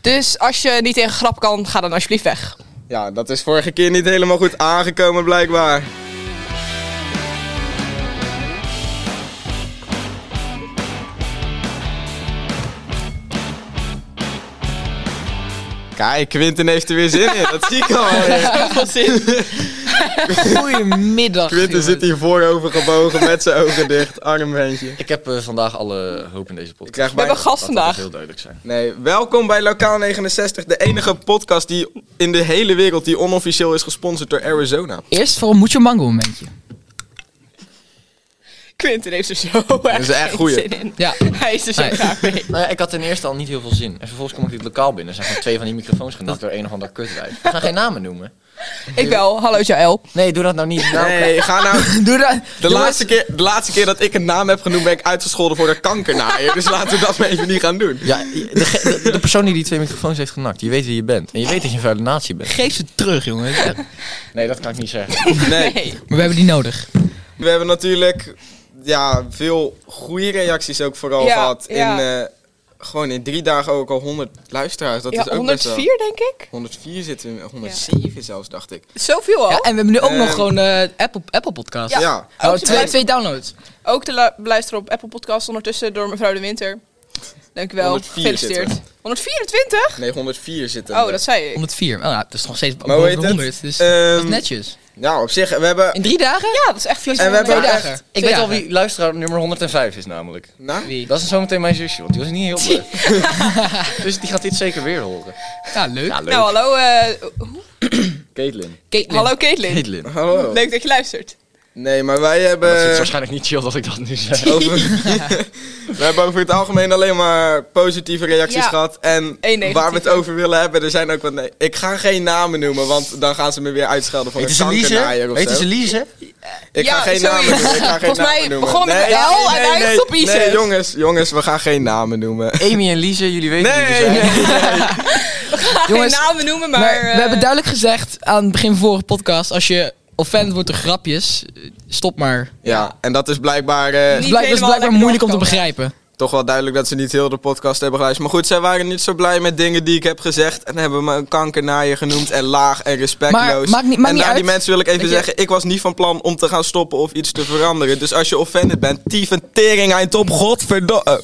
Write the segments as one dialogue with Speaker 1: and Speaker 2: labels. Speaker 1: Dus als je niet tegen grap kan, ga dan alsjeblieft weg.
Speaker 2: Ja, dat is vorige keer niet helemaal goed aangekomen blijkbaar. Kijk, Quinten heeft er weer zin in. Dat zie ik al.
Speaker 1: Zoveel zin.
Speaker 3: Goedemiddag.
Speaker 2: Quinten zit hier voorover gebogen met zijn ogen dicht. Arm ventje.
Speaker 4: Ik heb eh, vandaag alle hoop in deze podcast.
Speaker 2: Ik krijg
Speaker 4: Laten
Speaker 1: We hebben
Speaker 2: bijna-
Speaker 1: gast
Speaker 4: we
Speaker 1: vandaag.
Speaker 4: heel duidelijk zijn.
Speaker 2: Nee, welkom bij Lokaal 69, de enige podcast die in de hele wereld die onofficieel is gesponsord door Arizona.
Speaker 3: Eerst voor een Mucho Mango momentje.
Speaker 1: Quinten heeft er zo erg
Speaker 2: is echt
Speaker 1: geen
Speaker 2: goeie.
Speaker 1: zin in.
Speaker 3: Ja.
Speaker 1: Hij is er zo
Speaker 3: Nee.
Speaker 1: graag mee.
Speaker 4: Nou ja, ik had ten eerste al niet heel veel zin. En vervolgens kom ik dit lokaal binnen. Er zijn gewoon twee van die microfoons genapt door een of ander kutwijf. We gaan geen namen noemen.
Speaker 1: Ik wel. Hallo Jaël.
Speaker 4: Nee, doe dat nou niet. Nou,
Speaker 2: Nee, ga nou...
Speaker 3: Doe dat.
Speaker 2: De laatste, keer, de laatste keer dat ik een naam heb genoemd, ben ik uitgescholden voor de kankernaaier. Dus laten we dat maar even niet gaan doen.
Speaker 4: Ja, de, de, de persoon die die twee microfoons heeft genakt, je weet wie je bent. En je weet dat je een vuile natie bent.
Speaker 3: Geef ze terug, jongen.
Speaker 4: Nee, dat kan ik niet zeggen.
Speaker 2: Nee.
Speaker 3: Maar we hebben die nodig.
Speaker 2: We hebben natuurlijk ja, veel goede reacties ook vooral
Speaker 1: Ja,
Speaker 2: gehad.
Speaker 1: ja.
Speaker 2: In, eh, gewoon in drie dagen ook al 100 luisteraars. Dat
Speaker 1: Ja,
Speaker 2: is ook best wel...
Speaker 1: 104 denk ik.
Speaker 2: 104 zitten we, 107 zelfs, dacht ik.
Speaker 1: Zoveel al.
Speaker 3: Ja, en we hebben nu ook
Speaker 2: Eh,
Speaker 3: nog gewoon eh, Apple, Apple Podcast.
Speaker 2: Ja.
Speaker 3: Oh,
Speaker 1: Ook de
Speaker 3: twee,
Speaker 1: lu-
Speaker 3: twee downloads.
Speaker 1: Ook de lu- luisteren op Apple Podcast ondertussen door mevrouw De Winter. Dank u wel.
Speaker 2: 104
Speaker 1: Gefeliciteerd. 124?
Speaker 2: Nee, 104 zitten
Speaker 1: Oh,
Speaker 2: er.
Speaker 1: dat zei ik.
Speaker 3: 104. Oh, nou, dat is nog steeds
Speaker 2: Maar hoe
Speaker 3: boven
Speaker 2: heet
Speaker 3: de
Speaker 2: het?
Speaker 3: 100. Dus dat
Speaker 2: Ehm,
Speaker 3: is netjes.
Speaker 2: Nou, op zich, we hebben...
Speaker 3: In drie dagen?
Speaker 1: Ja, dat is echt vies.
Speaker 2: En we hebben
Speaker 3: Twee
Speaker 2: ook echt-
Speaker 3: dagen.
Speaker 4: Ik
Speaker 3: Twee
Speaker 4: weet al
Speaker 3: dagen.
Speaker 4: wie luisteraar nummer 105 is namelijk.
Speaker 2: Nou?
Speaker 3: Wie?
Speaker 4: Dat is zometeen mijn zusje, want die was niet heel blij. dus die gaat dit zeker weer horen.
Speaker 3: Ja, leuk.
Speaker 4: Ja, leuk.
Speaker 1: Nou, hallo, eh,
Speaker 2: Caitlin.
Speaker 3: Caitlin.
Speaker 1: hallo Caitlin.
Speaker 4: Caitlin.
Speaker 2: Hallo.
Speaker 1: Leuk dat je luistert.
Speaker 2: Nee, maar wij
Speaker 4: Dat is
Speaker 2: hebben...
Speaker 4: waarschijnlijk niet chill dat ik dat nu zeg.
Speaker 2: Over... we hebben over het algemeen alleen maar positieve reacties
Speaker 1: Ja.
Speaker 2: gehad. En
Speaker 1: negatieve.
Speaker 2: waar we het over willen hebben, er zijn ook wat... Nee, ik ga geen namen noemen, want dan gaan ze me weer uitschelden voor een kankernaaier of zo.
Speaker 4: Lize?
Speaker 2: Ik
Speaker 1: Ja,
Speaker 2: ga geen
Speaker 1: zoiets.
Speaker 2: namen noemen. Ik ga geen
Speaker 1: Volgens mij
Speaker 2: namen noemen.
Speaker 1: begon het met L en
Speaker 2: nee,
Speaker 1: eindigt
Speaker 2: nee,
Speaker 1: op Isis.
Speaker 2: Nee, jongens, jongens, we gaan geen namen noemen.
Speaker 4: Amy en Lize, jullie weten wie ze
Speaker 2: Nee,
Speaker 4: zijn.
Speaker 2: nee.
Speaker 3: Jongens,
Speaker 1: Geen namen noemen, maar...
Speaker 3: Maar
Speaker 1: eh,
Speaker 3: we hebben duidelijk gezegd aan het begin van vorige podcast, als je offend wordt door grapjes, eh, stop maar.
Speaker 2: Ja, en dat is blijkbaar eh,
Speaker 1: Niet
Speaker 3: Het blijkt- het is
Speaker 1: helemaal
Speaker 3: blijkbaar
Speaker 1: lekker
Speaker 3: moeilijk om te
Speaker 1: doorgekomen.
Speaker 3: begrijpen.
Speaker 2: toch wel duidelijk dat ze niet heel de podcast hebben geluisterd. Maar goed, zij waren niet zo blij met dingen die ik heb gezegd. En hebben me een kankernaaier genoemd en laag en respectloos.
Speaker 3: Maar maakt niet- maakt
Speaker 2: en
Speaker 3: niet
Speaker 2: naar die
Speaker 3: uit.
Speaker 2: mensen wil ik even
Speaker 3: Weet je-
Speaker 2: zeggen, ik was niet van plan om te gaan stoppen of iets te veranderen. Dus als je offended bent, tief een tering eind op, godverdomme.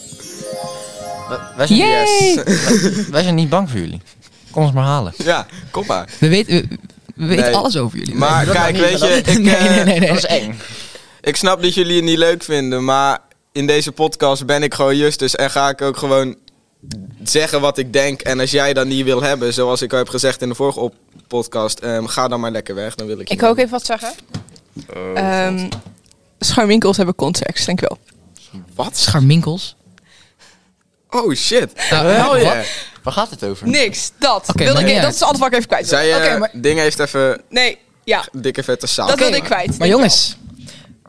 Speaker 4: Wij- Wij zijn,
Speaker 3: Yay!
Speaker 4: wij zijn niet bang voor jullie. Kom ons maar halen.
Speaker 2: Ja, kom maar.
Speaker 3: We weten, we, we weten
Speaker 2: Nee.
Speaker 3: alles over jullie.
Speaker 2: Maar
Speaker 4: dat
Speaker 2: kijk,
Speaker 4: mag
Speaker 2: weet
Speaker 4: niet,
Speaker 2: je,
Speaker 4: maar
Speaker 2: ik,
Speaker 3: nee,
Speaker 2: eh,
Speaker 3: nee, nee, nee.
Speaker 4: Dat is eng.
Speaker 2: ik snap dat jullie het niet leuk vinden, maar in deze podcast ben ik gewoon Justus en ga ik ook gewoon zeggen wat ik denk. En als jij dat niet wil hebben, zoals ik al heb gezegd in de vorige op podcast, ehm, ga dan maar lekker weg. Dan wil ik je
Speaker 1: Ik
Speaker 2: niet.
Speaker 1: wil ook even wat zeggen.
Speaker 2: Oh,
Speaker 1: Ehm, Scharminkels hebben context, dankjewel.
Speaker 2: Wat?
Speaker 3: Scharminkels.
Speaker 2: Oh shit.
Speaker 3: Nou,
Speaker 4: Wel,
Speaker 3: wat?
Speaker 4: ja. Waar gaat het over?
Speaker 1: Niks, dat.
Speaker 3: Oké,
Speaker 1: wilde
Speaker 3: maar-
Speaker 1: ik, dat is alles wat ik even kwijt wil.
Speaker 2: Zij, eh,
Speaker 1: Oké, maar-
Speaker 2: Ding heeft even
Speaker 1: Nee, ja.
Speaker 2: dikke vette saal.
Speaker 1: Dat wilde ik kwijt.
Speaker 3: Maar jongens,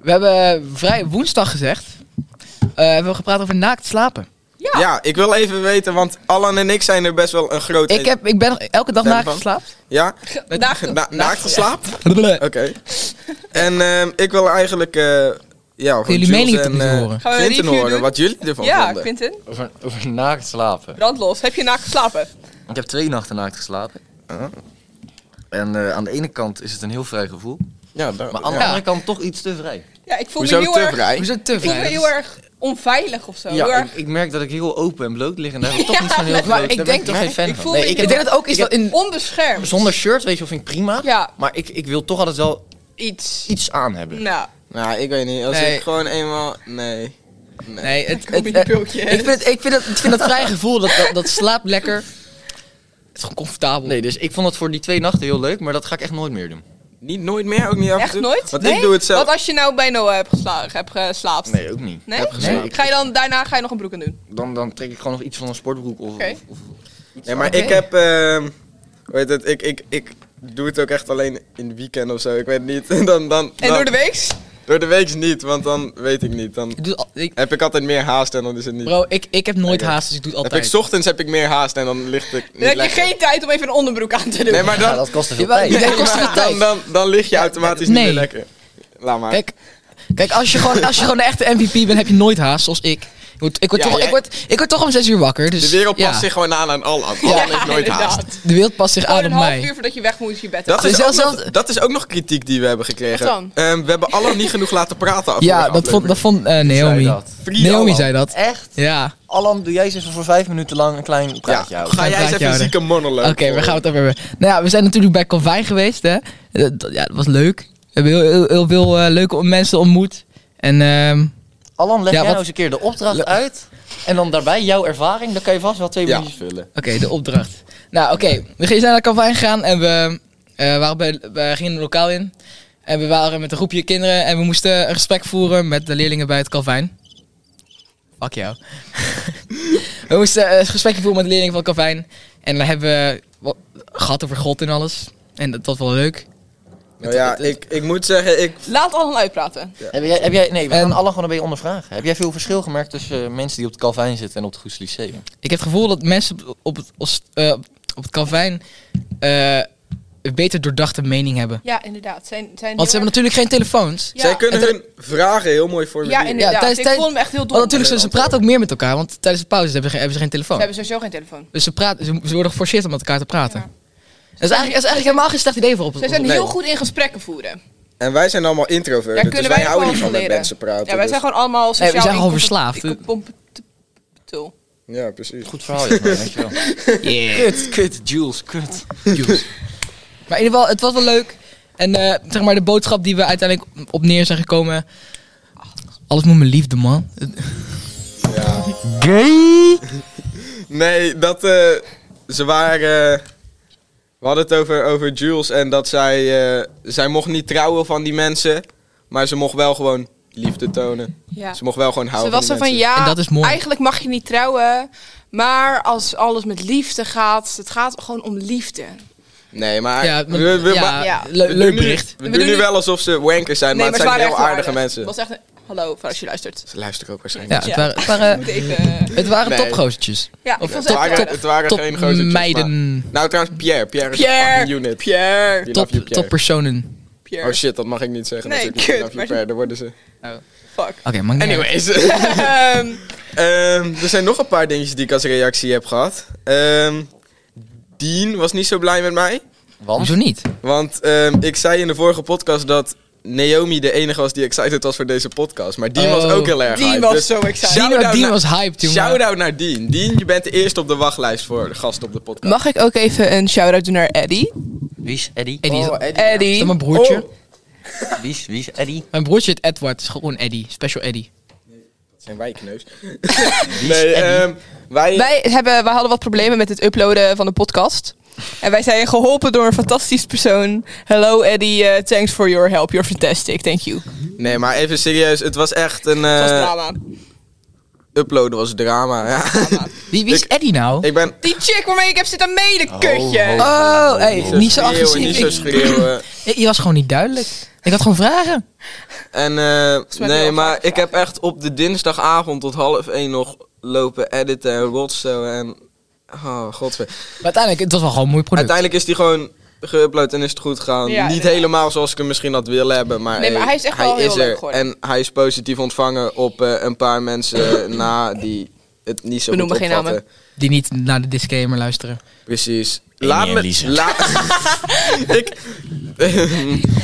Speaker 3: we hebben vrij woensdag gezegd. eh, hebben we gepraat over naakt slapen.
Speaker 1: Ja.
Speaker 2: Ja, ik wil even weten, want Allan en ik zijn er best wel een groot...
Speaker 3: Ik, heb, ik ben elke dag
Speaker 2: Ben
Speaker 3: naakt
Speaker 2: van?
Speaker 3: geslapen.
Speaker 2: Ja?
Speaker 1: Vandaag
Speaker 2: Na, naakt geslaapt?
Speaker 3: Kunnen
Speaker 2: Oké. En ehm, ik wil eigenlijk... eh ja, gewoon
Speaker 3: jullie
Speaker 2: Jules
Speaker 3: mening
Speaker 2: en,
Speaker 3: tot nu toe
Speaker 2: eh,
Speaker 3: horen?
Speaker 1: Gaan we een
Speaker 2: Clinton
Speaker 1: review
Speaker 2: horen,
Speaker 1: doen?
Speaker 2: wat jullie ervan
Speaker 1: Ja,
Speaker 2: vonden.
Speaker 1: Quinten.
Speaker 4: Over, over naakt slapen.
Speaker 1: Brandlos. Heb je naakt geslapen?
Speaker 4: Ik heb twee nachten naakt geslapen. Uh-huh. En eh, aan de ene kant is het een heel vrij gevoel.
Speaker 2: Ja, dan,
Speaker 4: Maar aan de
Speaker 2: ja.
Speaker 4: andere kant toch iets te vrij.
Speaker 1: Ja, ik voel
Speaker 2: Hoezo
Speaker 1: me heel
Speaker 2: te
Speaker 1: erg...
Speaker 2: vrij?
Speaker 3: Hoezo te
Speaker 1: Ik voel me
Speaker 3: vrij?
Speaker 1: heel erg onveilig of zo. heel
Speaker 4: Ja, ik,
Speaker 1: erg
Speaker 4: ik merk dat ik heel open en bloot lig en daar heb ik toch niet zo'n heel
Speaker 3: Maar
Speaker 4: groot...
Speaker 3: ik
Speaker 4: daar ben
Speaker 3: denk
Speaker 4: vrij
Speaker 3: toch-
Speaker 4: fan
Speaker 1: ik
Speaker 4: van.
Speaker 1: voel
Speaker 4: Nee,
Speaker 1: me-
Speaker 4: ik
Speaker 3: Ik denk dat het ook is dat in...
Speaker 4: heb-
Speaker 1: onbeschermd.
Speaker 4: zonder shirt, weet je, vind ik prima.
Speaker 1: Ja.
Speaker 4: Maar ik, ik wil toch altijd wel
Speaker 1: Iets.
Speaker 4: iets aan hebben.
Speaker 1: Nou,
Speaker 2: Nou, ik weet niet. Als
Speaker 3: Nee.
Speaker 2: ik gewoon eenmaal... Nee.
Speaker 3: Nee, het,
Speaker 1: kom
Speaker 3: het,
Speaker 1: in die
Speaker 3: eh,
Speaker 1: bulkje.
Speaker 3: ik, vind het, ik, vind het, ik vind dat vrij gevoel, dat, dat, dat slaapt lekker. Het is gewoon comfortabel.
Speaker 4: Nee, dus ik vond dat voor die twee nachten heel leuk, maar dat ga ik echt nooit meer doen.
Speaker 2: Niet nooit meer? Ook niet af en
Speaker 1: echt
Speaker 2: toe?
Speaker 1: nooit?
Speaker 2: Want ik
Speaker 1: Nee?
Speaker 2: doe het zelf.
Speaker 1: Wat als je nou bij Noah hebt, gesla- hebt geslaapt?
Speaker 4: Nee, ook niet.
Speaker 1: Nee?
Speaker 2: Heb geslapen.
Speaker 1: Ga je dan daarna ga je nog een broek aan doen?
Speaker 4: Dan, dan trek ik gewoon nog iets van een sportbroek of...
Speaker 1: Oké.
Speaker 4: of, of-
Speaker 2: Nee, maar ik
Speaker 3: Oké.
Speaker 2: heb... ehm, hoe heet het? Ik, ik, ik doe het ook echt alleen in het weekend of zo. Ik weet niet. Dan, dan, dan,
Speaker 1: En door de week?
Speaker 2: door de week niet, want dan weet ik niet. Dan
Speaker 3: Ik doe, al- ik,
Speaker 2: heb ik altijd meer haast en dan is het niet.
Speaker 3: bro, ik, ik heb nooit
Speaker 2: Oké.
Speaker 3: haast, dus ik doe het
Speaker 2: heb
Speaker 3: altijd.
Speaker 2: ik, 's ochtends heb ik meer haast en dan ligt ik niet
Speaker 1: Dan heb je
Speaker 2: lekker.
Speaker 1: geen tijd om even een onderbroek aan te doen.
Speaker 2: Nee, maar
Speaker 4: Ja,
Speaker 2: dan,
Speaker 4: dat kost te veel
Speaker 3: Jawel,
Speaker 4: tijd.
Speaker 3: dat kost
Speaker 2: maar
Speaker 3: veel
Speaker 2: dan,
Speaker 3: tijd.
Speaker 2: dan, dan lig je automatisch niet
Speaker 3: nee.
Speaker 2: meer lekker. Laat maar.
Speaker 3: Kijk, kijk als, je gewoon, als je gewoon de echte MVP bent, heb je nooit haast, zoals ik. word- Ik word,
Speaker 2: Ja,
Speaker 3: toch,
Speaker 2: jij-
Speaker 3: ik, word, ik word toch om zes uur wakker. Dus,
Speaker 2: De wereld past
Speaker 3: ja.
Speaker 2: zich gewoon aan aan Alan. Alan heeft nooit haast.
Speaker 3: De wereld past zich
Speaker 1: Gewoon
Speaker 3: aan
Speaker 1: een
Speaker 3: op
Speaker 1: half
Speaker 3: mij.
Speaker 1: uur voordat je weg moet is je bed. uit.
Speaker 2: Dat
Speaker 3: Dus
Speaker 2: is, ook
Speaker 3: zelfs-
Speaker 2: nog, dat is ook nog kritiek die we hebben gekregen.
Speaker 1: Wat dan?
Speaker 2: Ehm, we hebben Alan niet genoeg laten praten
Speaker 3: Ja,
Speaker 2: afgelopen
Speaker 3: dat vond, dat vond eh,
Speaker 4: Wie zei
Speaker 3: Naomi.
Speaker 4: dat?
Speaker 2: Free
Speaker 3: Naomi
Speaker 2: Alan.
Speaker 3: zei dat.
Speaker 4: Echt?
Speaker 3: Ja,
Speaker 4: Alan, doe jij eens even voor vijf minuten lang een klein praatje
Speaker 2: Ja,
Speaker 4: houden.
Speaker 2: ga jij eens
Speaker 3: praatje
Speaker 2: even een
Speaker 3: houden.
Speaker 2: zieke monoloog.
Speaker 3: oké, we gaan het over hebben. Nou ja, we zijn natuurlijk bij Convijn geweest, hè. Dat, dat- ja, dat was leuk. We hebben heel, heel, heel veel eh, leuke mensen ontmoet. En ehm,
Speaker 4: Alan, leg jij
Speaker 3: Ja, wat-
Speaker 4: nou eens een keer de opdracht uit. En dan daarbij jouw ervaring. Dan kan je vast wel twee
Speaker 2: Ja.
Speaker 4: minuutjes vullen.
Speaker 3: Oké, de opdracht. Nou, oké. We zijn naar Calvin gegaan en we, eh, waren bij, we gingen een lokaal in. En we waren met een groepje kinderen en we moesten een gesprek voeren met de leerlingen bij het Calvin. Fuck jou. we moesten eh, een gesprekje voeren met de leerlingen van Calvin. En daar hebben we wat gehad over God en alles. En dat was wel leuk.
Speaker 2: Nou ja, ik, ik moet zeggen, ik...
Speaker 1: Laat Alan uitpraten.
Speaker 4: Heb jij, heb jij, nee, we
Speaker 3: En-
Speaker 4: gaan Alan gewoon een beetje ondervragen. Heb jij veel verschil gemerkt tussen eh, mensen die op het Calvijn zitten en op het Goes Lyceum?
Speaker 3: Ik heb het gevoel dat mensen op, op het, os- eh, op het Calvin eh, een beter doordachte mening hebben.
Speaker 1: Ja, inderdaad. Zijn, zijn
Speaker 3: Want ze hebben natuurlijk geen telefoons.
Speaker 1: Ja.
Speaker 2: Zij kunnen
Speaker 3: En
Speaker 2: hun vragen heel mooi formuleren.
Speaker 1: Ja, inderdaad.
Speaker 3: Ja, tijdens-
Speaker 1: ik
Speaker 3: tijdens-
Speaker 1: vond hem echt heel dom.
Speaker 3: Want Oh, natuurlijk, ze, ze praten ook meer met elkaar, want tijdens de pauze hebben ze geen, hebben ze geen
Speaker 1: Ze
Speaker 3: telefoon.
Speaker 1: hebben sowieso geen telefoon.
Speaker 3: Dus ze, praten, ze, ze worden geforceerd om met elkaar te praten.
Speaker 1: Ja.
Speaker 3: Dat, is eigenlijk, dat is eigenlijk helemaal geen slecht idee voor op
Speaker 1: Ze zijn
Speaker 2: Nee.
Speaker 1: heel goed in gesprekken voeren.
Speaker 2: En wij zijn allemaal introverten,
Speaker 1: Daar
Speaker 2: dus
Speaker 1: kunnen
Speaker 2: wij
Speaker 1: wij
Speaker 2: houden
Speaker 1: gewoon
Speaker 2: niet
Speaker 1: van
Speaker 2: van met
Speaker 1: leren.
Speaker 2: mensen praten. dus-
Speaker 1: Ja, wij zijn gewoon allemaal
Speaker 3: Nee,
Speaker 1: sociaal...
Speaker 3: we zijn gewoon
Speaker 1: incompe-
Speaker 3: verslaat.
Speaker 1: incompetentel.
Speaker 2: gewoon... Ja, precies.
Speaker 4: Goed verhaal, jongen. Dankjewel. Kut, kut, Jules, kut.
Speaker 3: Maar in ieder geval, het was wel leuk. En eh, zeg maar, de boodschap die we uiteindelijk op neer zijn gekomen. Alles moet mijn liefde, man.
Speaker 2: Ja. Nee, dat... eh, ze waren... eh, we hadden het over, over Jules en dat zij... eh, zij mocht niet trouwen van die mensen, maar ze mocht wel gewoon liefde tonen.
Speaker 1: Ja.
Speaker 2: Ze mocht wel gewoon
Speaker 1: Ze
Speaker 2: houden
Speaker 1: was
Speaker 2: van
Speaker 1: er
Speaker 2: die
Speaker 1: van,
Speaker 2: mensen.
Speaker 1: ja,
Speaker 3: En dat is mooi.
Speaker 1: eigenlijk mag je niet trouwen. Maar als alles met liefde gaat, het gaat gewoon om liefde.
Speaker 2: Nee, maar...
Speaker 3: ja,
Speaker 2: we- we- we-
Speaker 3: ja,
Speaker 1: ja.
Speaker 3: le-
Speaker 2: we
Speaker 3: leuk
Speaker 2: doen nu-
Speaker 3: bericht.
Speaker 2: we doen nu wel alsof ze wankers zijn, maar,
Speaker 1: ze
Speaker 2: het
Speaker 1: waren
Speaker 2: zijn heel
Speaker 1: echt wel
Speaker 2: aardige
Speaker 1: aardig.
Speaker 2: mensen.
Speaker 1: Het was echt een- Hallo, voor als je luistert.
Speaker 2: Ze luisteren ook waarschijnlijk.
Speaker 3: Ja,
Speaker 1: Ja.
Speaker 3: het waren, het waren,
Speaker 1: Moet even-
Speaker 3: het waren
Speaker 2: Nee.
Speaker 3: topgozertjes.
Speaker 1: Ja, ik
Speaker 3: Of
Speaker 1: vond ze
Speaker 2: Het
Speaker 1: echt
Speaker 2: waren,
Speaker 1: top.
Speaker 2: het waren
Speaker 3: top
Speaker 2: geen gozer.
Speaker 3: meiden.
Speaker 2: Nou, trouwens, Pierre. Pierre is
Speaker 1: Pierre!
Speaker 2: een fucking unit. Pierre.
Speaker 3: Top, top personen.
Speaker 1: Pierre.
Speaker 2: Oh shit, dat mag ik niet zeggen.
Speaker 1: Nee,
Speaker 2: natuurlijk.
Speaker 1: kut,
Speaker 2: I love you,
Speaker 1: maar-
Speaker 2: Pierre. Daar worden ze.
Speaker 1: Fuck.
Speaker 3: Oké, man.
Speaker 2: Anyways.
Speaker 1: Ehm,
Speaker 2: Ehm, er zijn nog een paar dingetjes die ik als reactie heb gehad. Ehm, Dean was niet zo blij met mij.
Speaker 4: Want?
Speaker 3: Hoezo niet?
Speaker 2: Want ehm, ik zei in de vorige podcast dat Naomi de enige was die excited was voor deze podcast. Maar Dean was
Speaker 3: Oh.
Speaker 2: ook heel erg
Speaker 1: Dean
Speaker 2: hyped.
Speaker 1: was
Speaker 2: Dus
Speaker 1: zo excited.
Speaker 2: shout-out
Speaker 3: Dino, Dino
Speaker 2: naar-
Speaker 3: was hyped, jongen.
Speaker 2: Shout-out naar Dean. Dean, je bent de eerste op de wachtlijst voor de gast op de podcast.
Speaker 1: Mag ik ook even een shout-out doen naar Eddie?
Speaker 4: Wie is Eddie?
Speaker 3: Eddie is,
Speaker 2: Oh,
Speaker 3: is
Speaker 1: Eddie.
Speaker 3: dat mijn broertje?
Speaker 2: Oh.
Speaker 4: Wie is, wie is Eddie?
Speaker 3: Mijn broertje heet Edward. is gewoon Eddie. Special Eddie.
Speaker 2: Zijn wij kneus? nee, ehm, wij...
Speaker 1: Wij, hebben, wij hadden wat problemen met het uploaden van de podcast. En wij zijn geholpen door een fantastisch persoon. Hello Eddie, eh, thanks for your help. You're fantastic, thank
Speaker 2: Eh,
Speaker 1: you.
Speaker 2: Nee, maar even serieus. Het was echt een... eh,
Speaker 1: Dat was drama.
Speaker 2: uploaden was drama. Ja.
Speaker 3: Wie, wie is
Speaker 2: Ik-
Speaker 3: Eddie nou?
Speaker 2: ik ben...
Speaker 1: Die chick waarmee ik heb zitten mede, kutje.
Speaker 4: ho.
Speaker 3: Oh, hey, niet zo
Speaker 2: Schreeuwen,
Speaker 3: agressief.
Speaker 2: niet zo
Speaker 3: Ik-
Speaker 2: schreeuwen.
Speaker 3: Je was gewoon niet duidelijk. Ik had gewoon vragen.
Speaker 2: En eh,
Speaker 1: mij
Speaker 2: nee,
Speaker 1: wel
Speaker 2: maar
Speaker 1: vaak
Speaker 2: ik heb echt op de dinsdagavond tot half één nog lopen editen en rotsen en... Oh, godver.
Speaker 3: Maar uiteindelijk, het was wel gewoon een mooi product.
Speaker 2: Uiteindelijk is die gewoon geüpload en is het goed gegaan.
Speaker 1: Ja,
Speaker 2: Niet
Speaker 1: ja.
Speaker 2: helemaal zoals ik hem misschien had willen hebben, maar,
Speaker 1: Nee, maar
Speaker 2: hey,
Speaker 1: hij is echt wel heel
Speaker 2: er.
Speaker 1: leuk geworden.
Speaker 2: En hij is positief ontvangen op eh, een paar mensen na die het niet zo
Speaker 1: We
Speaker 2: goed
Speaker 1: noemen geen
Speaker 2: opvatten.
Speaker 3: Die niet naar de disclaimer luisteren.
Speaker 2: Precies.
Speaker 4: Amy
Speaker 2: Laat
Speaker 4: en
Speaker 2: me.
Speaker 4: Lise.
Speaker 2: La, ik.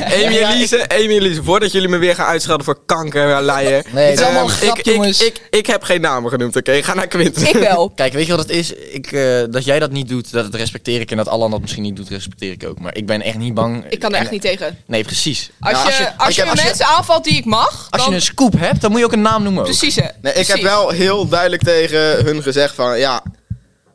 Speaker 2: Amy en Lise, Amy en Lise, voordat jullie me weer gaan uitschelden voor kanker en lijen.
Speaker 4: Nee,
Speaker 3: Het is allemaal
Speaker 2: Ehm,
Speaker 3: een grap,
Speaker 2: ik,
Speaker 3: jongens.
Speaker 2: Ik, ik, ik heb geen namen genoemd, oké? Ga naar Quinten.
Speaker 1: Ik wel.
Speaker 4: Kijk, weet je wat het is? Ik, eh, dat jij dat niet doet, dat, dat respecteer ik. En dat Alan dat misschien niet doet, respecteer ik ook. Maar ik ben echt niet bang.
Speaker 1: Ik kan er
Speaker 4: En-
Speaker 1: echt niet tegen.
Speaker 4: Nee, precies.
Speaker 1: Als
Speaker 4: Nou,
Speaker 1: je, als je,
Speaker 4: als je- als je-
Speaker 1: mensen aanvalt die ik mag,
Speaker 4: Als
Speaker 1: dan...
Speaker 4: je een scoop hebt, dan moet je ook een naam noemen. ook.
Speaker 1: Precies, hè.
Speaker 2: Nee, ik heb
Speaker 1: Precies.
Speaker 2: wel heel duidelijk tegen hun gezegd van ja.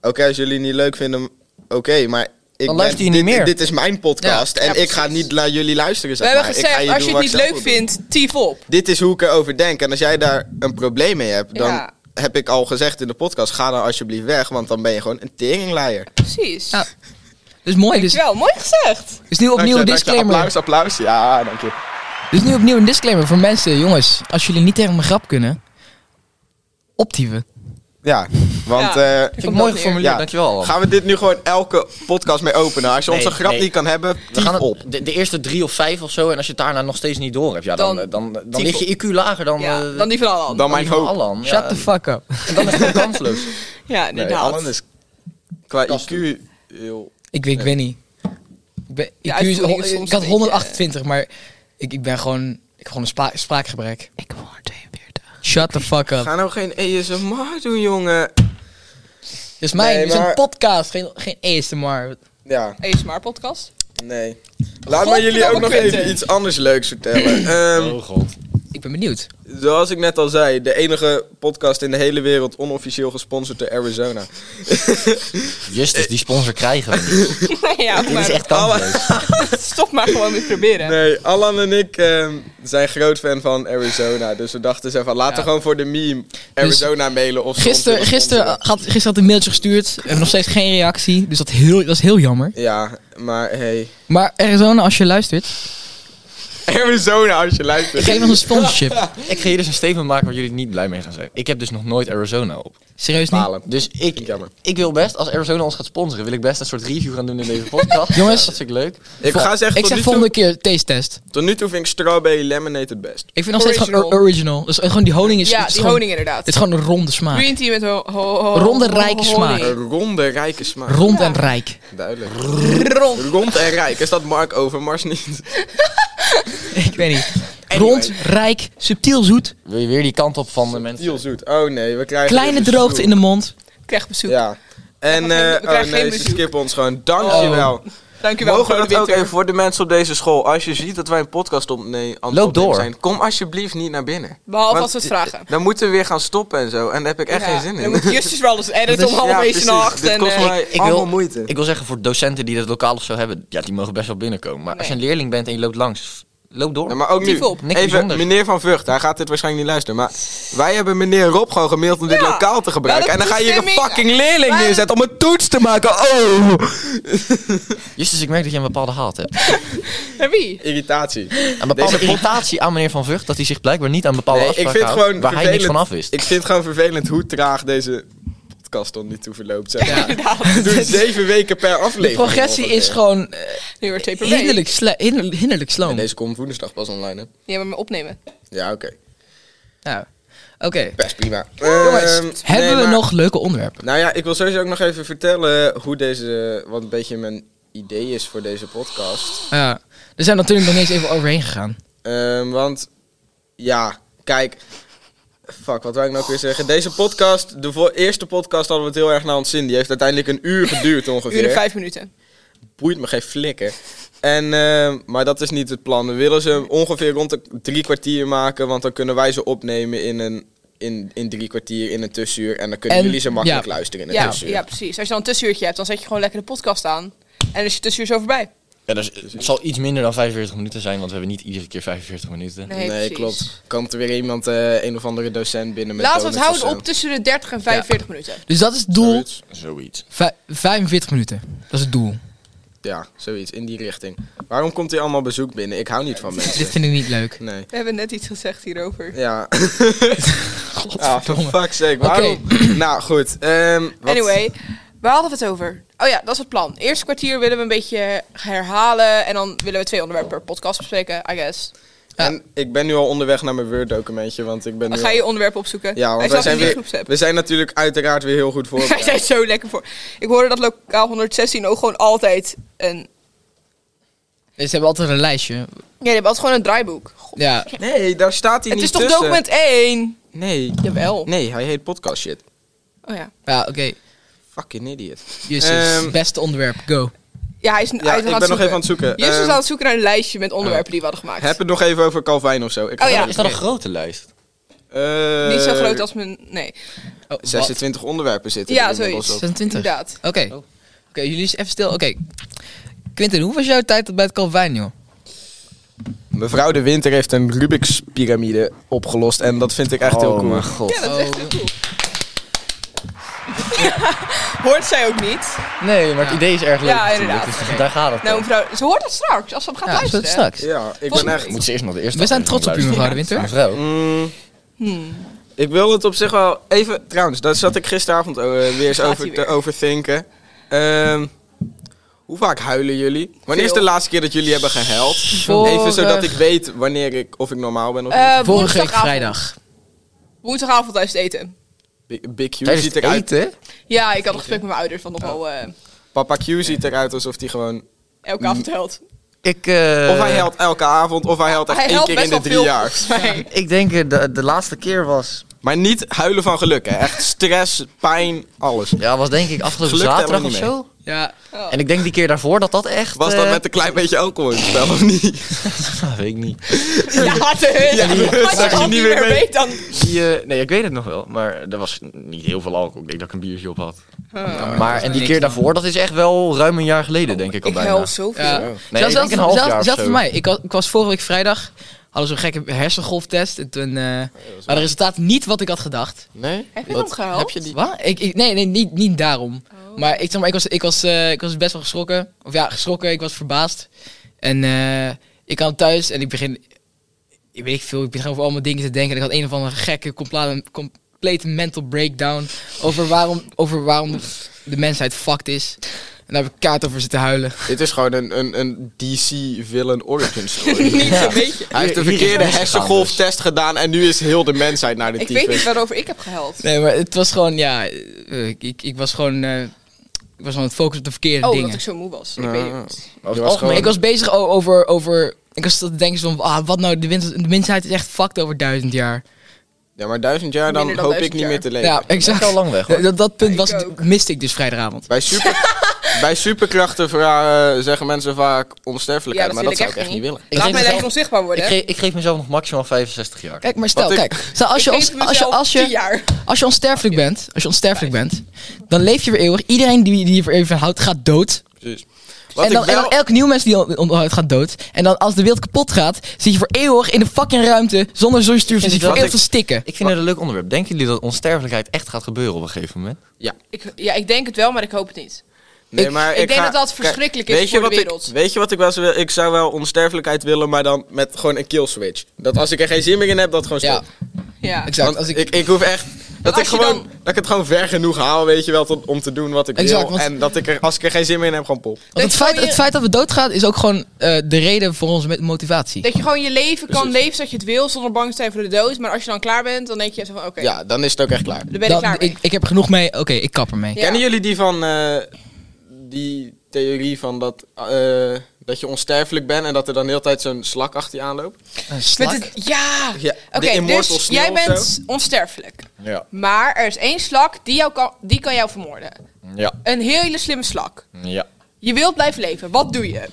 Speaker 2: Oké, als jullie het niet leuk vinden, oké, maar. Ik
Speaker 4: Dan luister je
Speaker 2: dit,
Speaker 4: niet meer.
Speaker 2: Dit is mijn podcast
Speaker 1: Ja,
Speaker 2: en ik
Speaker 1: precies.
Speaker 2: ga niet naar jullie luisteren.
Speaker 1: We
Speaker 2: Zeg
Speaker 1: hebben
Speaker 2: maar. Ik ga
Speaker 1: gezegd, als
Speaker 2: doen
Speaker 1: je het niet
Speaker 2: wat ik zelf
Speaker 1: leuk
Speaker 2: wil doen.
Speaker 1: vindt, tief op.
Speaker 2: dit is hoe ik erover denk. En als jij daar een probleem mee hebt, dan
Speaker 1: Ja.
Speaker 2: heb ik al gezegd in de podcast: ga dan alsjeblieft weg, want dan ben je gewoon een teringleier.
Speaker 1: Precies.
Speaker 3: Ja. Dus mooi. Dus,
Speaker 1: Wel, mooi gezegd.
Speaker 3: dus nu opnieuw een disclaimer.
Speaker 2: Applaus, applaus. Ja, dank je.
Speaker 3: Dus nu opnieuw een disclaimer voor mensen. Jongens, als jullie niet tegen mijn grap kunnen, optieven.
Speaker 2: Ja, want
Speaker 1: Ja.
Speaker 2: eh,
Speaker 4: Vind ik een mooi
Speaker 1: dat
Speaker 4: geformuleerd,
Speaker 2: Ja.
Speaker 4: dankjewel. Alan.
Speaker 2: gaan we dit nu gewoon elke podcast mee openen? Als je
Speaker 4: Nee,
Speaker 2: onze grap
Speaker 4: nee.
Speaker 2: niet kan hebben,
Speaker 4: we
Speaker 2: tief
Speaker 4: gaan het
Speaker 2: op.
Speaker 4: De, de eerste drie of vijf of zo, en als je het daarna nog steeds niet door hebt, ja, dan, eh,
Speaker 1: Dan-
Speaker 4: dan, dan, dan
Speaker 1: die
Speaker 4: ligt je IQ lager dan,
Speaker 1: Ja,
Speaker 4: eh,
Speaker 1: dan die van Alan.
Speaker 2: Dan mijn
Speaker 4: die van
Speaker 2: hoop.
Speaker 4: Alan.
Speaker 3: Shut
Speaker 4: Ja,
Speaker 3: the fuck up.
Speaker 4: en dan is het gewoon kansloos.
Speaker 1: Ja,
Speaker 2: Nee,
Speaker 1: inderdaad.
Speaker 2: Alan is qua
Speaker 4: Kasten.
Speaker 2: IQ heel...
Speaker 3: Ik, weet- ik weet niet. Ik, ben,
Speaker 1: Ja,
Speaker 3: IQ is
Speaker 1: uitvoering
Speaker 3: hon-
Speaker 1: is soms
Speaker 3: ik had
Speaker 1: een beetje,
Speaker 3: 128, maar ik, ik ben gewoon... Ik heb gewoon een spra- spraakgebrek.
Speaker 1: Ik heb 142.
Speaker 3: Shut the fuck up.
Speaker 2: Ga nou geen ASMR doen, jongen.
Speaker 3: Dit is mijn
Speaker 2: Nee,
Speaker 3: dit is een
Speaker 2: maar-
Speaker 3: podcast, geen, geen ASMR.
Speaker 2: Ja,
Speaker 1: ASMR podcast.
Speaker 2: nee. Laat maar jullie ook nog
Speaker 1: Godverdomme.
Speaker 2: even iets anders leuks vertellen. Ehm,
Speaker 4: god.
Speaker 3: Ik ben benieuwd.
Speaker 2: zoals ik net al zei, de enige podcast in de hele wereld onofficieel gesponsord door Arizona.
Speaker 4: Justus, die sponsor krijgen we.
Speaker 1: ja,
Speaker 4: Dit is
Speaker 1: maar
Speaker 4: echt kansloos.
Speaker 1: stop maar gewoon met proberen.
Speaker 2: Nee, Alan en ik ehm, zijn groot fan van Arizona. Dus we dachten eens even, laten we
Speaker 3: Ja.
Speaker 2: gewoon voor de meme Arizona mailen of zo.
Speaker 3: Gisteren gister had, gister had een mailtje gestuurd. We hebben nog steeds geen reactie. Dus dat, heel, dat is heel jammer.
Speaker 2: Ja, maar hey.
Speaker 3: Maar Arizona, als je luistert,
Speaker 2: Arizona, als je luistert.
Speaker 3: geef ons een sponsorship.
Speaker 4: Ik ga hier dus een statement maken waar jullie niet blij mee gaan zijn. Ik heb dus nog nooit Arizona op.
Speaker 3: Serieus niet.
Speaker 2: Balen.
Speaker 4: Dus ik,
Speaker 2: Jammer.
Speaker 4: ik wil best, als Arizona ons gaat sponsoren, wil ik best een soort review gaan doen in deze podcast.
Speaker 3: Jongens.
Speaker 4: dat vind ik leuk.
Speaker 2: Ik ga zeggen,
Speaker 3: Ik
Speaker 2: tot,
Speaker 3: zeg
Speaker 2: nu
Speaker 3: volgende
Speaker 2: toe,
Speaker 3: keer taste test.
Speaker 2: tot nu toe vind ik strawberry lemonade het best.
Speaker 3: Ik vind nog steeds gewoon
Speaker 1: Original.
Speaker 3: or- original. Dus gewoon die honing is,
Speaker 1: ja,
Speaker 3: is
Speaker 1: die
Speaker 3: gewoon,
Speaker 1: honing inderdaad.
Speaker 3: Het is gewoon een ronde smaak.
Speaker 1: Green tea met ho ho- ho-
Speaker 3: Ronde,
Speaker 1: ho-
Speaker 3: rijke
Speaker 1: ho-
Speaker 3: smaak.
Speaker 2: Een
Speaker 1: honing.
Speaker 2: ronde, rijke smaak.
Speaker 3: Rond
Speaker 1: Ja.
Speaker 3: en rijk.
Speaker 2: Duidelijk.
Speaker 1: Rond.
Speaker 2: Rond en rijk. Is dat Mark Overmars niet?
Speaker 3: Ik weet niet.
Speaker 2: Anyway.
Speaker 3: Rond, rijk, subtiel zoet,
Speaker 4: Wil je weer die kant op van de mensen?
Speaker 2: Heel zoet. Oh nee, we krijgen...
Speaker 3: kleine droogte in de mond.
Speaker 1: Ik krijg bezoek.
Speaker 2: Ja. En,
Speaker 1: We krijgen geen-
Speaker 2: eh
Speaker 1: we krijgen
Speaker 2: oh nee,
Speaker 1: geen
Speaker 2: ze
Speaker 1: bezoek.
Speaker 2: skippen ons gewoon. Dankjewel.
Speaker 1: Dankjewel
Speaker 2: Mogen we
Speaker 1: voor de
Speaker 2: dat ook
Speaker 1: winter.
Speaker 2: even voor de mensen op deze school? Als je ziet dat wij een podcast op, nee, aan het
Speaker 4: Loop
Speaker 2: opnemen
Speaker 4: door.
Speaker 2: zijn, kom alsjeblieft niet naar binnen.
Speaker 1: Behalve
Speaker 2: Want
Speaker 1: als we het vragen.
Speaker 2: Dan moeten we weer gaan stoppen en zo. En daar heb ik echt
Speaker 1: Ja,
Speaker 2: geen zin in.
Speaker 1: Dan moet Justus wel eens editen
Speaker 3: Dat is-
Speaker 1: om half
Speaker 2: Ja,
Speaker 1: één
Speaker 2: precies.
Speaker 1: nacht.
Speaker 2: Dit
Speaker 1: en,
Speaker 2: kost
Speaker 1: eh,
Speaker 2: mij
Speaker 4: ik
Speaker 2: allemaal
Speaker 4: wil-
Speaker 2: moeite.
Speaker 4: Ik wil zeggen, voor docenten die dat lokaal of zo hebben, ja, die mogen best wel binnenkomen. Maar als je een leerling bent en je loopt langs, loop door.
Speaker 2: Ja, maar ook nu,
Speaker 1: Dief op.
Speaker 4: Niks
Speaker 2: even
Speaker 4: bijzonders.
Speaker 2: meneer Van Vught, hij gaat dit waarschijnlijk niet luisteren, maar wij hebben meneer Rob gewoon gemaild om dit
Speaker 1: Ja,
Speaker 2: lokaal te gebruiken.
Speaker 1: wel
Speaker 2: En
Speaker 1: een
Speaker 2: dan ga je hier een
Speaker 1: toestemming.
Speaker 2: fucking leerling
Speaker 1: Wel-
Speaker 2: neerzetten om een toets te maken. Oh!
Speaker 4: Justus, ik merk dat je een bepaalde haat hebt.
Speaker 1: naar wie?
Speaker 2: Irritatie.
Speaker 4: Een bepaalde
Speaker 2: Deze pod-
Speaker 4: irritatie aan meneer Van Vught, dat hij zich blijkbaar niet aan bepaalde
Speaker 2: Nee, ik
Speaker 4: afspraken
Speaker 2: vind
Speaker 4: houdt,
Speaker 2: gewoon
Speaker 4: waar hij niks van
Speaker 2: vervelend.
Speaker 4: af wist.
Speaker 2: Ik vind het gewoon vervelend hoe traag deze podcast tot nu toe verloopt. Zeg. maar.
Speaker 1: Inderdaad.
Speaker 2: We doen zeven weken per aflevering.
Speaker 3: Progressie
Speaker 2: ongeveer.
Speaker 3: is gewoon eh,
Speaker 1: Nu weer twee per week.
Speaker 3: hinderlijk, sla- hinderlijk, hinderlijk sloom.
Speaker 2: En deze komt woensdag pas online, hè?
Speaker 1: Ja, maar me opnemen.
Speaker 2: Ja, oké.
Speaker 3: Nou, Oké.
Speaker 2: Best prima.
Speaker 3: Jongens,
Speaker 2: Ehm,
Speaker 3: hebben
Speaker 2: nee,
Speaker 3: we
Speaker 2: maar-
Speaker 3: nog leuke onderwerpen?
Speaker 2: Nou ja, ik wil sowieso ook nog even vertellen hoe deze... Wat een beetje mijn idee is voor deze podcast.
Speaker 3: Ja. Er zijn natuurlijk nog niet eens even overheen gegaan.
Speaker 2: Ehm, want, ja, kijk... Fuck, wat wou ik nou ook weer zeggen? Deze podcast, de vo- eerste podcast hadden we het heel erg naar ons zin. Die heeft uiteindelijk een uur geduurd ongeveer.
Speaker 1: Uur en vijf minuten.
Speaker 2: boeit me geen flikker. En, eh, maar dat is niet het plan. We willen ze ongeveer rond de drie kwartier maken, want dan kunnen wij ze opnemen in, een, in, in drie kwartier, in een tussenuur. En dan kunnen
Speaker 3: En-
Speaker 2: jullie ze makkelijk
Speaker 3: ja.
Speaker 2: luisteren in een
Speaker 1: Ja,
Speaker 2: tussenuur.
Speaker 1: ja, precies. Als je dan een tussenuurtje hebt, dan zet je gewoon lekker de podcast aan. En is je tussenuur zo voorbij.
Speaker 4: Ja, dus het zal iets minder dan 45 minuten zijn, want we hebben niet iedere keer 45 minuten.
Speaker 1: Nee,
Speaker 2: nee,
Speaker 1: precies.
Speaker 2: klopt. Komt er weer iemand, eh, een of andere docent binnen met
Speaker 1: Laten we het
Speaker 2: donuts
Speaker 1: houden op
Speaker 2: of
Speaker 1: tussen de 30 en 45 minuten.
Speaker 3: Dus dat is het
Speaker 2: zo.
Speaker 3: doel.
Speaker 2: Zoiets.
Speaker 4: Zoiets.
Speaker 3: Vij- 45 minuten. Dat is het doel.
Speaker 2: Ja, zoiets, in die richting. Waarom komt hier allemaal bezoek binnen? Ik hou niet van
Speaker 3: Dit
Speaker 2: mensen.
Speaker 3: vind ik niet leuk.
Speaker 2: Nee.
Speaker 1: We hebben net iets gezegd hierover.
Speaker 2: Ja, ah, for
Speaker 3: Godverdomme.
Speaker 2: fuck's sake.
Speaker 3: Oké.
Speaker 2: Waarom? nou, goed. ehm, wat-
Speaker 1: Anyway, waar hadden we het over? Oh ja, dat is het plan. Eerste kwartier willen we een beetje herhalen. En dan willen we twee onderwerpen per podcast bespreken, I guess.
Speaker 2: En ik ben nu al onderweg naar mijn Word-documentje, want ik ben nu
Speaker 1: Dan ga
Speaker 2: al-
Speaker 1: je onderwerpen opzoeken.
Speaker 2: Ja,
Speaker 1: Hij
Speaker 2: want wij
Speaker 1: zat
Speaker 2: zijn,
Speaker 1: in die
Speaker 2: weer,
Speaker 1: groepsapp.
Speaker 2: we zijn natuurlijk uiteraard weer heel goed
Speaker 1: Wij
Speaker 2: voor.
Speaker 1: zijn zo lekker voor. Ik hoorde dat lokaal 116 ook gewoon altijd een... Ja,
Speaker 3: Dus ze hebben altijd een lijstje.
Speaker 1: die hebben altijd gewoon een draaiboek. God,
Speaker 3: Ja.
Speaker 2: Nee, daar staat hij
Speaker 1: het
Speaker 2: niet
Speaker 1: is toch
Speaker 2: tussen.
Speaker 1: document 1?
Speaker 2: Nee,
Speaker 1: Jawel.
Speaker 2: nee, hij heet podcast shit.
Speaker 1: Oh ja.
Speaker 3: Ja, oké.
Speaker 2: Fucking idiot.
Speaker 3: Justus,
Speaker 2: Ehm,
Speaker 3: beste onderwerp. Go.
Speaker 1: Ja, hij is
Speaker 2: Ja, ik ben nog even aan het zoeken.
Speaker 1: Justus is
Speaker 2: Ehm, eh,
Speaker 1: aan het zoeken naar een lijstje met onderwerpen die we hadden gemaakt.
Speaker 2: Heb het nog even over Calvijn of zo. Ik
Speaker 1: Oh
Speaker 2: ga-
Speaker 1: ja.
Speaker 4: Is dat een grote lijst?
Speaker 2: Eh,
Speaker 1: Niet zo groot als mijn... Nee.
Speaker 3: Oh,
Speaker 2: 26 onderwerpen zitten
Speaker 1: Ja,
Speaker 2: er inmiddels
Speaker 1: zoiets.
Speaker 2: op.
Speaker 3: 26. Oké.
Speaker 1: Inderdaad.
Speaker 3: Oké, jullie is even stil. Oké. Quinten, hoe was jouw tijd bij het Calvijn, joh?
Speaker 2: Mevrouw de Winter heeft een Rubik's piramide opgelost en dat vind ik echt heel cool.
Speaker 4: god.
Speaker 1: Ja, dat
Speaker 2: Oh.
Speaker 3: Oh.
Speaker 1: is echt heel cool. Hoort zij ook niet.
Speaker 4: Nee, maar het idee is erg leuk.
Speaker 1: Ja,
Speaker 4: natuurlijk,
Speaker 1: inderdaad.
Speaker 4: dus
Speaker 1: Oké.
Speaker 4: daar gaat het
Speaker 1: Nou,
Speaker 4: om. Dus
Speaker 1: mevrouw, ze hoort het straks als ze hem gaat
Speaker 3: Ja,
Speaker 1: luisteren.
Speaker 3: tot straks.
Speaker 2: Ja,
Speaker 1: Volgens
Speaker 2: ik ben
Speaker 1: mij-
Speaker 2: echt...
Speaker 4: Moet ze eerst nog de eerste
Speaker 3: We zijn
Speaker 4: aflevering
Speaker 3: trots op u,
Speaker 4: luisteren.
Speaker 3: mevrouw de Winter.
Speaker 4: Mevrouw.
Speaker 2: Mm,
Speaker 1: Hmm.
Speaker 2: Ik wil het op zich wel even... Trouwens, daar zat ik gisteravond eh, weer eens
Speaker 1: Gaat
Speaker 2: over
Speaker 1: ie
Speaker 2: te
Speaker 1: weer.
Speaker 2: overthinken. Ehm, hoe vaak huilen jullie? Wanneer is de
Speaker 1: Veel.
Speaker 2: laatste keer dat jullie hebben gehuild?
Speaker 1: Vorig-
Speaker 2: Even zodat ik weet wanneer ik, of ik normaal ben of niet.
Speaker 1: Eh,
Speaker 3: Vorige week
Speaker 1: woensdagavond.
Speaker 3: vrijdag.
Speaker 1: Woensdagavond tijdens het eten.
Speaker 2: Bi- Big Q
Speaker 4: Tijdens
Speaker 2: ziet
Speaker 4: het
Speaker 2: eruit.
Speaker 4: eten?
Speaker 1: Ja, ik had een gesprek met mijn ouders van nogal eh,
Speaker 2: Papa Q ziet eruit alsof hij gewoon...
Speaker 1: elke avond huilt.
Speaker 4: Ik, eh,
Speaker 2: Of hij huilt elke avond, of hij huilt Mm. echt
Speaker 1: Hij
Speaker 2: één
Speaker 1: huilt
Speaker 2: keer
Speaker 1: best
Speaker 2: in de
Speaker 1: wel
Speaker 2: drie
Speaker 1: veel,
Speaker 2: jaar.
Speaker 1: volgens mij.
Speaker 4: Ik denk eh, de, de laatste keer was...
Speaker 2: Maar niet huilen van geluk, hè. Echt stress, pijn, alles.
Speaker 4: Ja, was denk ik afgelopen
Speaker 2: Geluk tellen we
Speaker 4: zaterdag of
Speaker 2: niet mee.
Speaker 4: zo.
Speaker 3: Ja,
Speaker 1: Oh.
Speaker 4: En ik denk die keer daarvoor dat dat echt...
Speaker 2: Was dat
Speaker 4: eh,
Speaker 2: met een klein beetje alcohol in het spel, of niet?
Speaker 4: weet ik niet.
Speaker 1: Ja, de
Speaker 2: Ja, de hut,
Speaker 1: Als je dat niet meer weet, dan...
Speaker 4: Die, eh, nee, ik weet het nog wel. Maar er was niet heel veel alcohol. Ik denk dat ik een biertje op had.
Speaker 1: Huh.
Speaker 4: maar en die keer daarvoor, dat is echt wel ruim een jaar geleden, denk Ah. Oh, ik al
Speaker 1: Ik
Speaker 4: bijna.
Speaker 1: huil zoveel.
Speaker 3: ja.
Speaker 4: Nee,
Speaker 3: zelfs
Speaker 4: ik denk een half
Speaker 3: zelfs-
Speaker 4: jaar of
Speaker 3: zelfs voor
Speaker 4: zo.
Speaker 3: mij. Ik, wa- ik was vorige week vrijdag. Hadden zo'n gekke hersengolftest. En toen eh, waren de resultaten niet wat ik had gedacht.
Speaker 4: Nee?
Speaker 1: Heb je
Speaker 4: Wat?
Speaker 1: hem gehuild?
Speaker 4: Heb je die... Oh.
Speaker 3: Wat? Ik, ik, nee, nee niet, niet daarom. Maar, ik, zeg maar ik, was, ik, was, eh, ik was best wel geschrokken. Of ja, geschrokken. Ik was verbaasd. En eh, ik kwam thuis en ik begin... Ik weet veel, ik begin over allemaal dingen te denken. En ik had een of andere gekke, complete, complete mental breakdown... over waarom, over waarom de mensheid fucked is. En daar heb ik kaart over zitten huilen.
Speaker 2: Dit is gewoon een, een, een DC villain origin story.
Speaker 1: Niet een beetje.
Speaker 2: Hij heeft de
Speaker 4: Hier- hier is
Speaker 2: verkeerde
Speaker 4: het
Speaker 2: hersengolftest gedaan en nu is heel de mensheid naar de
Speaker 1: Ik
Speaker 2: tyfus.
Speaker 1: weet niet waarover ik heb gehuild.
Speaker 3: Nee, maar het was gewoon, ja... eh, Ik, ik, ik was gewoon... eh, ik was aan het focussen op de verkeerde
Speaker 1: Oh,
Speaker 3: dingen.
Speaker 1: dat ik zo moe was. Ik
Speaker 2: Ja.
Speaker 1: weet het.
Speaker 2: Je was
Speaker 4: algemeen-
Speaker 2: gewoon-
Speaker 3: Ik was bezig o- over, over. Ik was te denken van. Ah, wat nou? De, mens, de mensheid is echt fucked over duizend jaar.
Speaker 2: Ja, maar duizend jaar, dan
Speaker 1: Minder dan
Speaker 2: hoop ik
Speaker 1: duizend
Speaker 2: niet
Speaker 1: jaar.
Speaker 2: meer te leven.
Speaker 3: Ja,
Speaker 4: Ik
Speaker 3: exact.
Speaker 4: al lang weg, hoor.
Speaker 3: Dat, dat punt
Speaker 1: Ik
Speaker 3: was, het-
Speaker 1: ook.
Speaker 3: miste ik dus vrijdagavond.
Speaker 2: Bij, super, bij superkrachten vra- eh, zeggen mensen vaak onsterfelijkheid,
Speaker 1: Ja,
Speaker 2: maar
Speaker 1: dat
Speaker 2: dat
Speaker 1: wil
Speaker 2: zou ik
Speaker 1: ik
Speaker 2: echt niet willen.
Speaker 4: Ik
Speaker 1: Laat
Speaker 4: geef
Speaker 1: mij
Speaker 4: mezelf-
Speaker 1: even onzichtbaar
Speaker 4: Ik,
Speaker 1: worden.
Speaker 4: ge- ik geef mezelf nog maximaal 65 jaar.
Speaker 3: Kijk, maar stel,
Speaker 2: Wat ik-
Speaker 3: kijk. Stel, als, je
Speaker 1: Ik
Speaker 3: ons,
Speaker 1: geef
Speaker 3: als, je,
Speaker 1: mezelf
Speaker 3: als,
Speaker 1: tien
Speaker 3: je,
Speaker 1: jaar.
Speaker 3: als je onsterfelijk bent, als je onsterfelijk bent, dan leef je weer eeuwig. Iedereen die, die je voor even houdt, gaat dood.
Speaker 2: Precies. Wat
Speaker 3: En dan,
Speaker 2: ik
Speaker 3: en
Speaker 2: wel-
Speaker 3: dan elke nieuwe mens die je onderhoudt, gaat dood. En dan als de wereld kapot gaat, zit je voor eeuwig in de fucking ruimte zonder zo'n
Speaker 4: het
Speaker 3: zit je
Speaker 4: wel-
Speaker 3: voor eeuwig
Speaker 4: ik-
Speaker 3: te stikken.
Speaker 4: Ik vind het een leuk onderwerp. Denken jullie dat onsterfelijkheid echt gaat gebeuren op een gegeven moment?
Speaker 1: Ik, ja, ik denk het wel, maar ik hoop het niet.
Speaker 2: Nee,
Speaker 3: ik-
Speaker 2: maar
Speaker 1: ik denk dat dat
Speaker 2: kijk,
Speaker 1: verschrikkelijk is
Speaker 2: weet je
Speaker 1: voor de
Speaker 2: wat ik-
Speaker 1: wereld.
Speaker 2: weet je wat ik wel zou willen? Ik zou wel onsterfelijkheid willen, maar dan met gewoon een kill switch. Dat als ik er geen zin meer in heb, dat gewoon
Speaker 3: Ja,
Speaker 2: stopt.
Speaker 1: Ja.
Speaker 3: exact.
Speaker 2: Want
Speaker 3: Als
Speaker 2: ik,
Speaker 3: ik,
Speaker 2: ik, hoef echt... Dat ik,
Speaker 1: als je
Speaker 2: gewoon,
Speaker 1: dan-
Speaker 2: dat ik het gewoon ver genoeg haal, weet je wel, tot- om te doen wat ik
Speaker 3: Exact,
Speaker 2: wil.
Speaker 3: want-
Speaker 2: En dat ik er, als ik er geen zin meer in heb, gewoon pop.
Speaker 3: Want
Speaker 1: Dat
Speaker 3: het
Speaker 1: je
Speaker 3: feit,
Speaker 1: gewoon
Speaker 3: het
Speaker 1: je-
Speaker 3: feit dat we doodgaan is ook gewoon eh, de reden voor onze met- motivatie.
Speaker 1: Dat je gewoon je leven kan
Speaker 2: Precies.
Speaker 1: leven zoals je het wil, zonder bang te zijn voor de dood. Maar als je dan klaar bent, dan denk je even van, oké,
Speaker 2: Ja, dan is het ook echt klaar.
Speaker 1: dan ben ik
Speaker 3: Dat-
Speaker 1: klaar mee.
Speaker 3: ik, ik heb er genoeg mee, oké, ik kap ermee.
Speaker 1: Ja.
Speaker 2: Kennen jullie die van eh, die theorie van dat, eh, dat je onsterfelijk bent en dat er dan de hele tijd zo'n slak achter je aanloopt?
Speaker 4: Een
Speaker 1: Met het- ja!
Speaker 2: Ja,
Speaker 1: Oké,
Speaker 2: de Immortal
Speaker 1: dus
Speaker 2: Sneeuw
Speaker 1: jij
Speaker 2: of
Speaker 1: bent
Speaker 2: zo.
Speaker 1: onsterfelijk.
Speaker 4: Ja.
Speaker 1: Maar er is één slak, die, jou kan, die kan jou vermoorden.
Speaker 4: Ja.
Speaker 1: Een hele slimme slak.
Speaker 4: Ja.
Speaker 1: Je wilt blijven leven, wat doe je?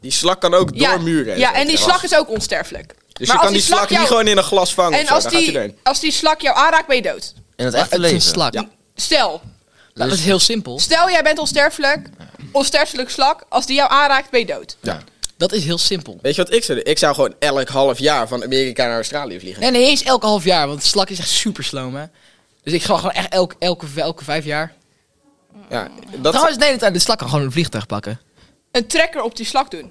Speaker 2: Die slak kan ook door
Speaker 1: ja,
Speaker 2: muren.
Speaker 1: Ja, en die slak is ook onsterfelijk.
Speaker 2: Dus
Speaker 1: Maar
Speaker 2: je kan
Speaker 1: als
Speaker 2: die slak
Speaker 1: jou-
Speaker 2: niet gewoon in een glas vangen.
Speaker 1: En als die, als die slak jou aanraakt, ben je dood.
Speaker 4: In het
Speaker 3: Maar het
Speaker 4: echte
Speaker 3: is
Speaker 4: leven.
Speaker 3: een slak.
Speaker 2: Ja.
Speaker 1: Stel,
Speaker 3: Nou, dat is heel simpel.
Speaker 1: stel jij bent onsterfelijk. Onsterfelijk slak. Als die jou aanraakt, ben je dood.
Speaker 3: Dat is heel simpel.
Speaker 2: Weet je wat ik zou doen? Ik zou gewoon elk half jaar van Amerika naar Australië vliegen.
Speaker 3: Nee, nee, eens elke half jaar, want slak is echt super sloom, hè. Dus ik ga gewoon echt elke, elke, elke vijf jaar.
Speaker 2: Ja, dat
Speaker 3: Trouwens, nee, de, de slak kan gewoon een vliegtuig pakken.
Speaker 1: Een trekker op die slak doen.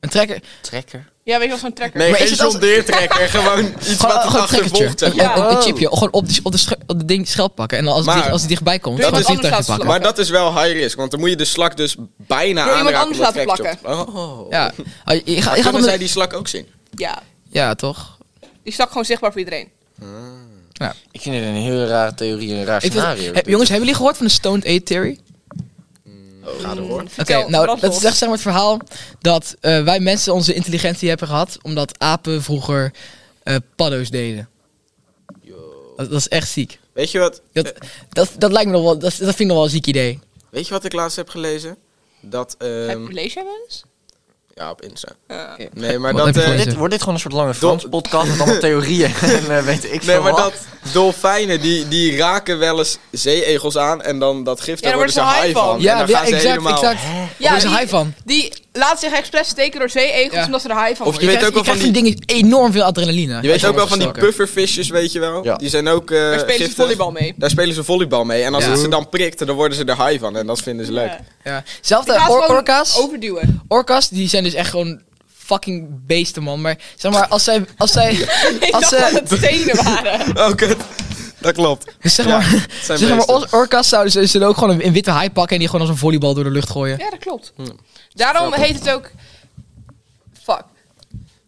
Speaker 3: Een trekker.
Speaker 4: Trekker.
Speaker 1: Ja, weet je wel, zo'n trekker.
Speaker 2: Nee,
Speaker 3: Maar is
Speaker 2: geen
Speaker 3: het als-
Speaker 2: John Deere trekker. gewoon iets
Speaker 3: Gewoon,
Speaker 2: wat het
Speaker 3: gewoon een
Speaker 2: achtervolgt.
Speaker 3: trekkertje.
Speaker 2: zeg
Speaker 3: Een,
Speaker 2: maar.
Speaker 3: een- een
Speaker 4: Oh.
Speaker 3: chipje. Gewoon op, die, op, de, sch- op de ding schelp pakken. En dan als, het
Speaker 2: Maar-
Speaker 3: dicht- als die dichtbij komt,
Speaker 1: Doe
Speaker 3: gewoon een
Speaker 1: iemand
Speaker 3: vliegtuig
Speaker 1: anders
Speaker 3: pakken.
Speaker 1: laten
Speaker 2: Maar dat is wel high risk, want dan moet je de slak dus bijna
Speaker 1: Door iemand
Speaker 2: aanraken. om dat
Speaker 1: anders laten
Speaker 2: trekje op te plakken. Oh.
Speaker 3: Ja. Ah, je- je gaat- je gaat
Speaker 2: Kunnen
Speaker 3: onder-
Speaker 2: zij die slak ook zien?
Speaker 1: Ja,
Speaker 3: Ja, toch?
Speaker 1: die slak gewoon zichtbaar voor iedereen.
Speaker 2: Ah,
Speaker 4: Ik vind het een heel rare theorie, een raar
Speaker 3: Ik vind-
Speaker 4: scenario.
Speaker 3: heb, jongens, hebben jullie gehoord van de Stoned Aid Theory?
Speaker 2: Ga ervoor.
Speaker 3: Oké,
Speaker 1: Vertel,
Speaker 3: nou,
Speaker 1: brand
Speaker 3: dat is
Speaker 1: los.
Speaker 3: echt zeg maar het verhaal dat eh, wij mensen onze intelligentie hebben gehad omdat apen vroeger eh, paddo's deden. Dat, dat is echt ziek.
Speaker 2: Weet je wat?
Speaker 3: Dat, dat, dat lijkt me nog wel, dat, dat vind ik nog wel een ziek idee.
Speaker 2: Weet je wat ik laatst heb gelezen? Dat, ehm,
Speaker 1: Heb- eh, Lees jij wel eens?
Speaker 2: ja, op Insta.
Speaker 1: Ja.
Speaker 2: Nee, maar
Speaker 3: Wat
Speaker 2: dat,
Speaker 3: heb je
Speaker 2: eh,
Speaker 4: wordt,
Speaker 3: gelezen?
Speaker 4: dit, wordt dit gewoon een soort lange Frans podcast met allemaal theorieën? en eh, weet ik
Speaker 2: nee,
Speaker 4: veel
Speaker 2: maar
Speaker 4: wat?
Speaker 2: dat dolfijnen, die, die raken wel eens zeeegels aan en dan dat gif, daar
Speaker 1: Ja, daar
Speaker 2: worden ze high van. En
Speaker 3: Ja,
Speaker 2: dan
Speaker 3: ja
Speaker 2: gaan ze
Speaker 3: exact,
Speaker 2: helemaal...
Speaker 3: exact.
Speaker 1: Ja,
Speaker 3: Daar is
Speaker 1: die-
Speaker 3: hij van.
Speaker 1: Die laat zich expres steken door zeeegels,
Speaker 3: Ja.
Speaker 1: omdat ze er high van
Speaker 2: Of
Speaker 1: worden.
Speaker 2: je weet
Speaker 3: krijgt-
Speaker 2: ook wel van
Speaker 3: krijgt van dingen enorm veel adrenaline.
Speaker 2: Je weet ook wel van die
Speaker 3: puff.
Speaker 2: puffervisjes, weet je wel.
Speaker 4: Ja.
Speaker 2: Die zijn ook eh
Speaker 1: Daar spelen ze
Speaker 2: giftig.
Speaker 1: volleybal mee.
Speaker 2: Daar spelen ze volleybal mee. En als
Speaker 3: Ja.
Speaker 2: het ze dan prikt, dan worden ze er high
Speaker 3: Eh,
Speaker 2: van. En dat vinden ze leuk.
Speaker 1: Ja.
Speaker 3: Ja.
Speaker 1: Die
Speaker 3: Zelfde
Speaker 1: gaat
Speaker 3: or-
Speaker 1: gewoon
Speaker 3: orka's.
Speaker 1: overduwen.
Speaker 3: Orka's die zijn dus echt gewoon fucking beesten, man. Maar zeg maar, als zij... Als zij
Speaker 1: Ik
Speaker 3: Als
Speaker 1: dacht
Speaker 3: eh, ze-
Speaker 1: dat het stenen waren.
Speaker 2: Oh, kut. Dat klopt.
Speaker 3: dus zeg
Speaker 2: Ja,
Speaker 3: maar,
Speaker 2: het zijn
Speaker 3: zeg maar
Speaker 2: beesten.
Speaker 3: or- orka's zouden ze zullen ook gewoon een, een witte haai pakken... en die gewoon als een volleybal door de lucht gooien.
Speaker 1: Ja, dat klopt. Daarom
Speaker 2: Hm. Grappig.
Speaker 1: heet het ook... Fuck.
Speaker 2: Daarom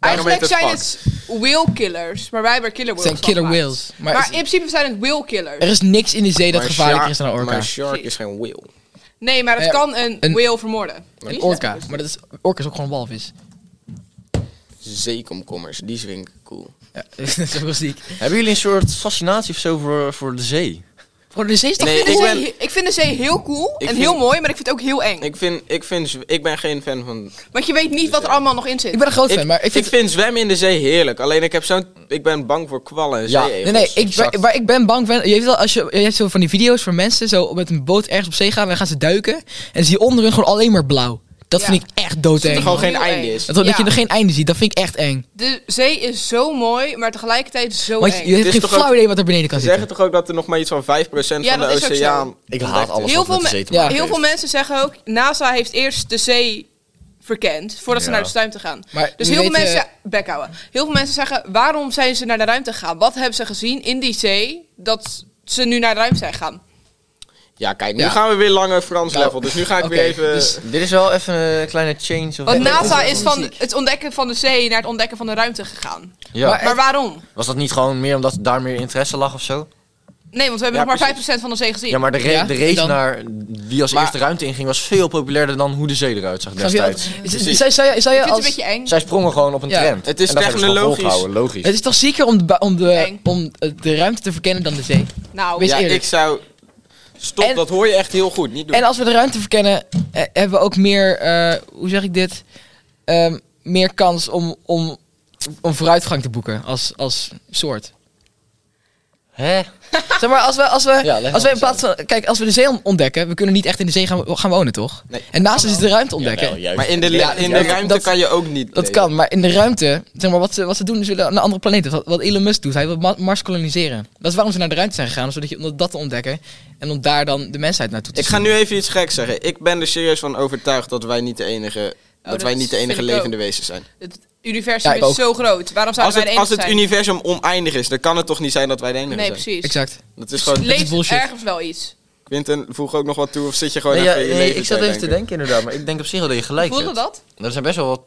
Speaker 1: Eigenlijk
Speaker 2: heet het
Speaker 1: zijn het whale-killers, maar wij hebben er killer
Speaker 3: Het
Speaker 1: whales
Speaker 3: zijn
Speaker 1: van
Speaker 3: killer
Speaker 1: gemaakt.
Speaker 3: whales.
Speaker 1: Maar,
Speaker 3: Maar,
Speaker 1: in principe zijn het whale-killers.
Speaker 3: er is niks in de zee dat
Speaker 2: Maar
Speaker 3: gevaarlijker
Speaker 2: shark-
Speaker 3: is dan een orka.
Speaker 2: Maar shark is geen whale.
Speaker 1: Nee, maar het
Speaker 3: Ja,
Speaker 1: kan een,
Speaker 3: een-
Speaker 1: whale vermoorden.
Speaker 3: Een orka. Maar dat is, orka is ook gewoon een walvis.
Speaker 2: Zeekomkommers, die is cool.
Speaker 3: Ja, dat is ook wel ziek.
Speaker 4: Hebben jullie een soort fascinatie of zo voor, voor de zee?
Speaker 3: Bro, de zee is toch
Speaker 2: Nee,
Speaker 1: Ik vind,
Speaker 2: ik
Speaker 1: de
Speaker 2: ben-
Speaker 1: zee, ik vind de zee heel cool en
Speaker 2: Ik vind-
Speaker 1: heel mooi, maar ik vind het ook heel eng.
Speaker 2: Ik, vind, ik, vind, zw- ik ben geen fan van...
Speaker 1: Want je weet niet wat er allemaal nog in zit.
Speaker 3: Ik ben een groot
Speaker 2: Ik,
Speaker 3: fan, maar ik vind...
Speaker 2: zwemmen in de zee heerlijk. Alleen ik, heb zo'n, ik ben bang voor kwallen en
Speaker 4: Ja,
Speaker 2: zeeegels.
Speaker 3: Nee, nee, ik,
Speaker 2: Zak.
Speaker 3: waar, waar ik ben bang van... Je, weet wel, als je, je hebt zo van die video's van mensen zo met een boot ergens op zee gaan... en dan gaan ze duiken en dan zie je onder hun gewoon alleen maar blauw. Dat
Speaker 1: Ja.
Speaker 3: vind ik echt
Speaker 2: Dat
Speaker 3: doodeng.
Speaker 2: er gewoon
Speaker 3: man.
Speaker 2: geen
Speaker 1: Heel
Speaker 2: einde
Speaker 1: eng.
Speaker 2: is.
Speaker 3: Dat, dat je
Speaker 1: Ja.
Speaker 3: er geen einde ziet, dat vind ik echt eng.
Speaker 1: De zee is zo mooi, maar tegelijkertijd zo
Speaker 3: Want
Speaker 1: eng.
Speaker 3: je hebt
Speaker 2: is
Speaker 3: geen
Speaker 2: toch
Speaker 3: flauw
Speaker 2: ook-
Speaker 3: idee wat er beneden kan
Speaker 2: Ze zeggen
Speaker 3: zitten.
Speaker 2: toch ook dat er nog maar iets van 5%
Speaker 1: Ja,
Speaker 2: van de
Speaker 1: dat is ook
Speaker 2: oceaan...
Speaker 1: zo.
Speaker 4: Ik
Speaker 2: ontdekt
Speaker 4: haat
Speaker 2: is.
Speaker 4: alles
Speaker 1: Heel
Speaker 4: wat
Speaker 1: veel,
Speaker 4: met de
Speaker 1: me-
Speaker 4: zee te
Speaker 3: ja.
Speaker 4: maken
Speaker 1: heel veel
Speaker 4: heeft.
Speaker 1: mensen zeggen ook, NASA heeft eerst de zee verkend voordat ze
Speaker 4: Ja.
Speaker 1: naar de ruimte gaan.
Speaker 3: Maar eh,
Speaker 1: Dus
Speaker 3: nu
Speaker 1: heel veel
Speaker 3: weten-
Speaker 1: mensen, bek houden. Heel veel mensen zeggen, waarom zijn ze naar de ruimte gegaan? Wat hebben ze gezien in die zee dat ze nu naar de ruimte zijn gegaan?
Speaker 2: Ja, kijk, nu
Speaker 3: Ja.
Speaker 2: gaan we weer langer Frans
Speaker 3: Nou,
Speaker 2: level. Dus nu ga ik
Speaker 3: oké,
Speaker 2: weer even...
Speaker 3: dus-
Speaker 4: Dit is wel even een kleine change. Of
Speaker 1: Want
Speaker 3: Nee, dat is
Speaker 1: NASA
Speaker 3: wel
Speaker 1: is van
Speaker 3: muziek.
Speaker 1: het ontdekken van de zee naar het ontdekken van de ruimte gegaan.
Speaker 4: Ja.
Speaker 3: Maar-
Speaker 1: Maar waarom?
Speaker 4: Was dat niet gewoon meer omdat daar meer interesse lag of zo?
Speaker 1: Nee, want we hebben
Speaker 2: Ja,
Speaker 1: nog maar
Speaker 2: precies.
Speaker 1: 5% van de zee gezien.
Speaker 4: Ja, maar de, ra-
Speaker 3: Ja,
Speaker 4: de
Speaker 3: en
Speaker 4: race
Speaker 3: dan?
Speaker 4: naar wie als
Speaker 2: Maar-
Speaker 4: eerste ruimte inging was veel populairder dan hoe de zee eruit zag
Speaker 3: Snap je dat?
Speaker 4: destijds.
Speaker 3: Is- is-
Speaker 2: Precies.
Speaker 3: Zou, zou, je- zou
Speaker 1: Ik vind
Speaker 3: je
Speaker 1: het een
Speaker 3: als...
Speaker 1: beetje eng.
Speaker 4: Zij sprongen gewoon op een
Speaker 3: Ja.
Speaker 4: trend.
Speaker 2: Het is
Speaker 4: En dat hebben ze gewoon
Speaker 2: technologisch.
Speaker 4: volgehouden, logisch.
Speaker 3: Het is toch zieker om de, ba- om de,
Speaker 1: Eng.
Speaker 3: om eh, de ruimte te verkennen dan de zee.
Speaker 1: Nou,
Speaker 3: Wees
Speaker 2: ja,
Speaker 3: eerlijk.
Speaker 2: ik zou... Stop,
Speaker 3: En-
Speaker 2: dat hoor je echt heel goed. Niet doen.
Speaker 3: En als we de ruimte verkennen, eh, hebben we ook meer, eh, hoe zeg ik dit? Ehm, meer kans om, om, om vooruitgang te boeken als, als soort.
Speaker 4: Hè?
Speaker 3: Zeg maar, als we, als we,
Speaker 4: leg maar
Speaker 3: als we in
Speaker 4: eens
Speaker 3: plaats van, kijk, als we de zee on- ontdekken, we kunnen niet echt in de zee gaan, gaan wonen, toch?
Speaker 2: Nee.
Speaker 3: En naast is de ruimte ontdekken.
Speaker 4: Jawel, juist.
Speaker 2: maar in de,
Speaker 3: Ja,
Speaker 2: in
Speaker 3: ja,
Speaker 2: de
Speaker 3: dat-
Speaker 2: ruimte
Speaker 3: dat-
Speaker 2: kan je ook niet
Speaker 3: dat
Speaker 2: leven.
Speaker 3: kan, maar in de ruimte, zeg maar, wat ze, wat ze doen, is willen naar andere planeten. Wat, wat Elon Musk doet, hij wil Ma- Mars koloniseren. Dat is waarom ze naar de ruimte zijn gegaan, zodat je, om dat te ontdekken en om daar dan de mensheid naartoe te
Speaker 2: Ik ga
Speaker 3: sturen.
Speaker 2: nu even iets geks zeggen. Ik ben er serieus van overtuigd dat wij niet de enige, dat
Speaker 1: Oh, dat
Speaker 2: wij niet de
Speaker 1: vind
Speaker 2: enige
Speaker 1: ik ook.
Speaker 2: levende wezens zijn.
Speaker 1: het universum
Speaker 3: Ja, ik
Speaker 1: is
Speaker 3: ook.
Speaker 1: zo groot. Waarom zouden
Speaker 2: Als
Speaker 1: wij
Speaker 2: het,
Speaker 1: de
Speaker 2: als
Speaker 1: enige
Speaker 2: het
Speaker 1: zijn?
Speaker 2: universum oneindig is, dan kan het toch niet zijn dat wij de enige
Speaker 1: Nee,
Speaker 2: zijn?
Speaker 1: precies.
Speaker 3: Exact.
Speaker 2: Dat is
Speaker 1: Dus
Speaker 2: gewoon...
Speaker 3: Dat is
Speaker 1: Leeft
Speaker 3: bullshit.
Speaker 1: ergens wel iets.
Speaker 2: Quinten, voeg ook nog wat toe of zit je gewoon
Speaker 4: Nee, ja,
Speaker 2: even in je
Speaker 4: nee,
Speaker 2: leven
Speaker 4: ik zat
Speaker 2: te
Speaker 4: even te
Speaker 2: denken?
Speaker 4: denken inderdaad, maar ik denk op zich wel dat je gelijk
Speaker 1: Voelde
Speaker 4: hebt.
Speaker 1: dat?
Speaker 4: Er zijn best wel wat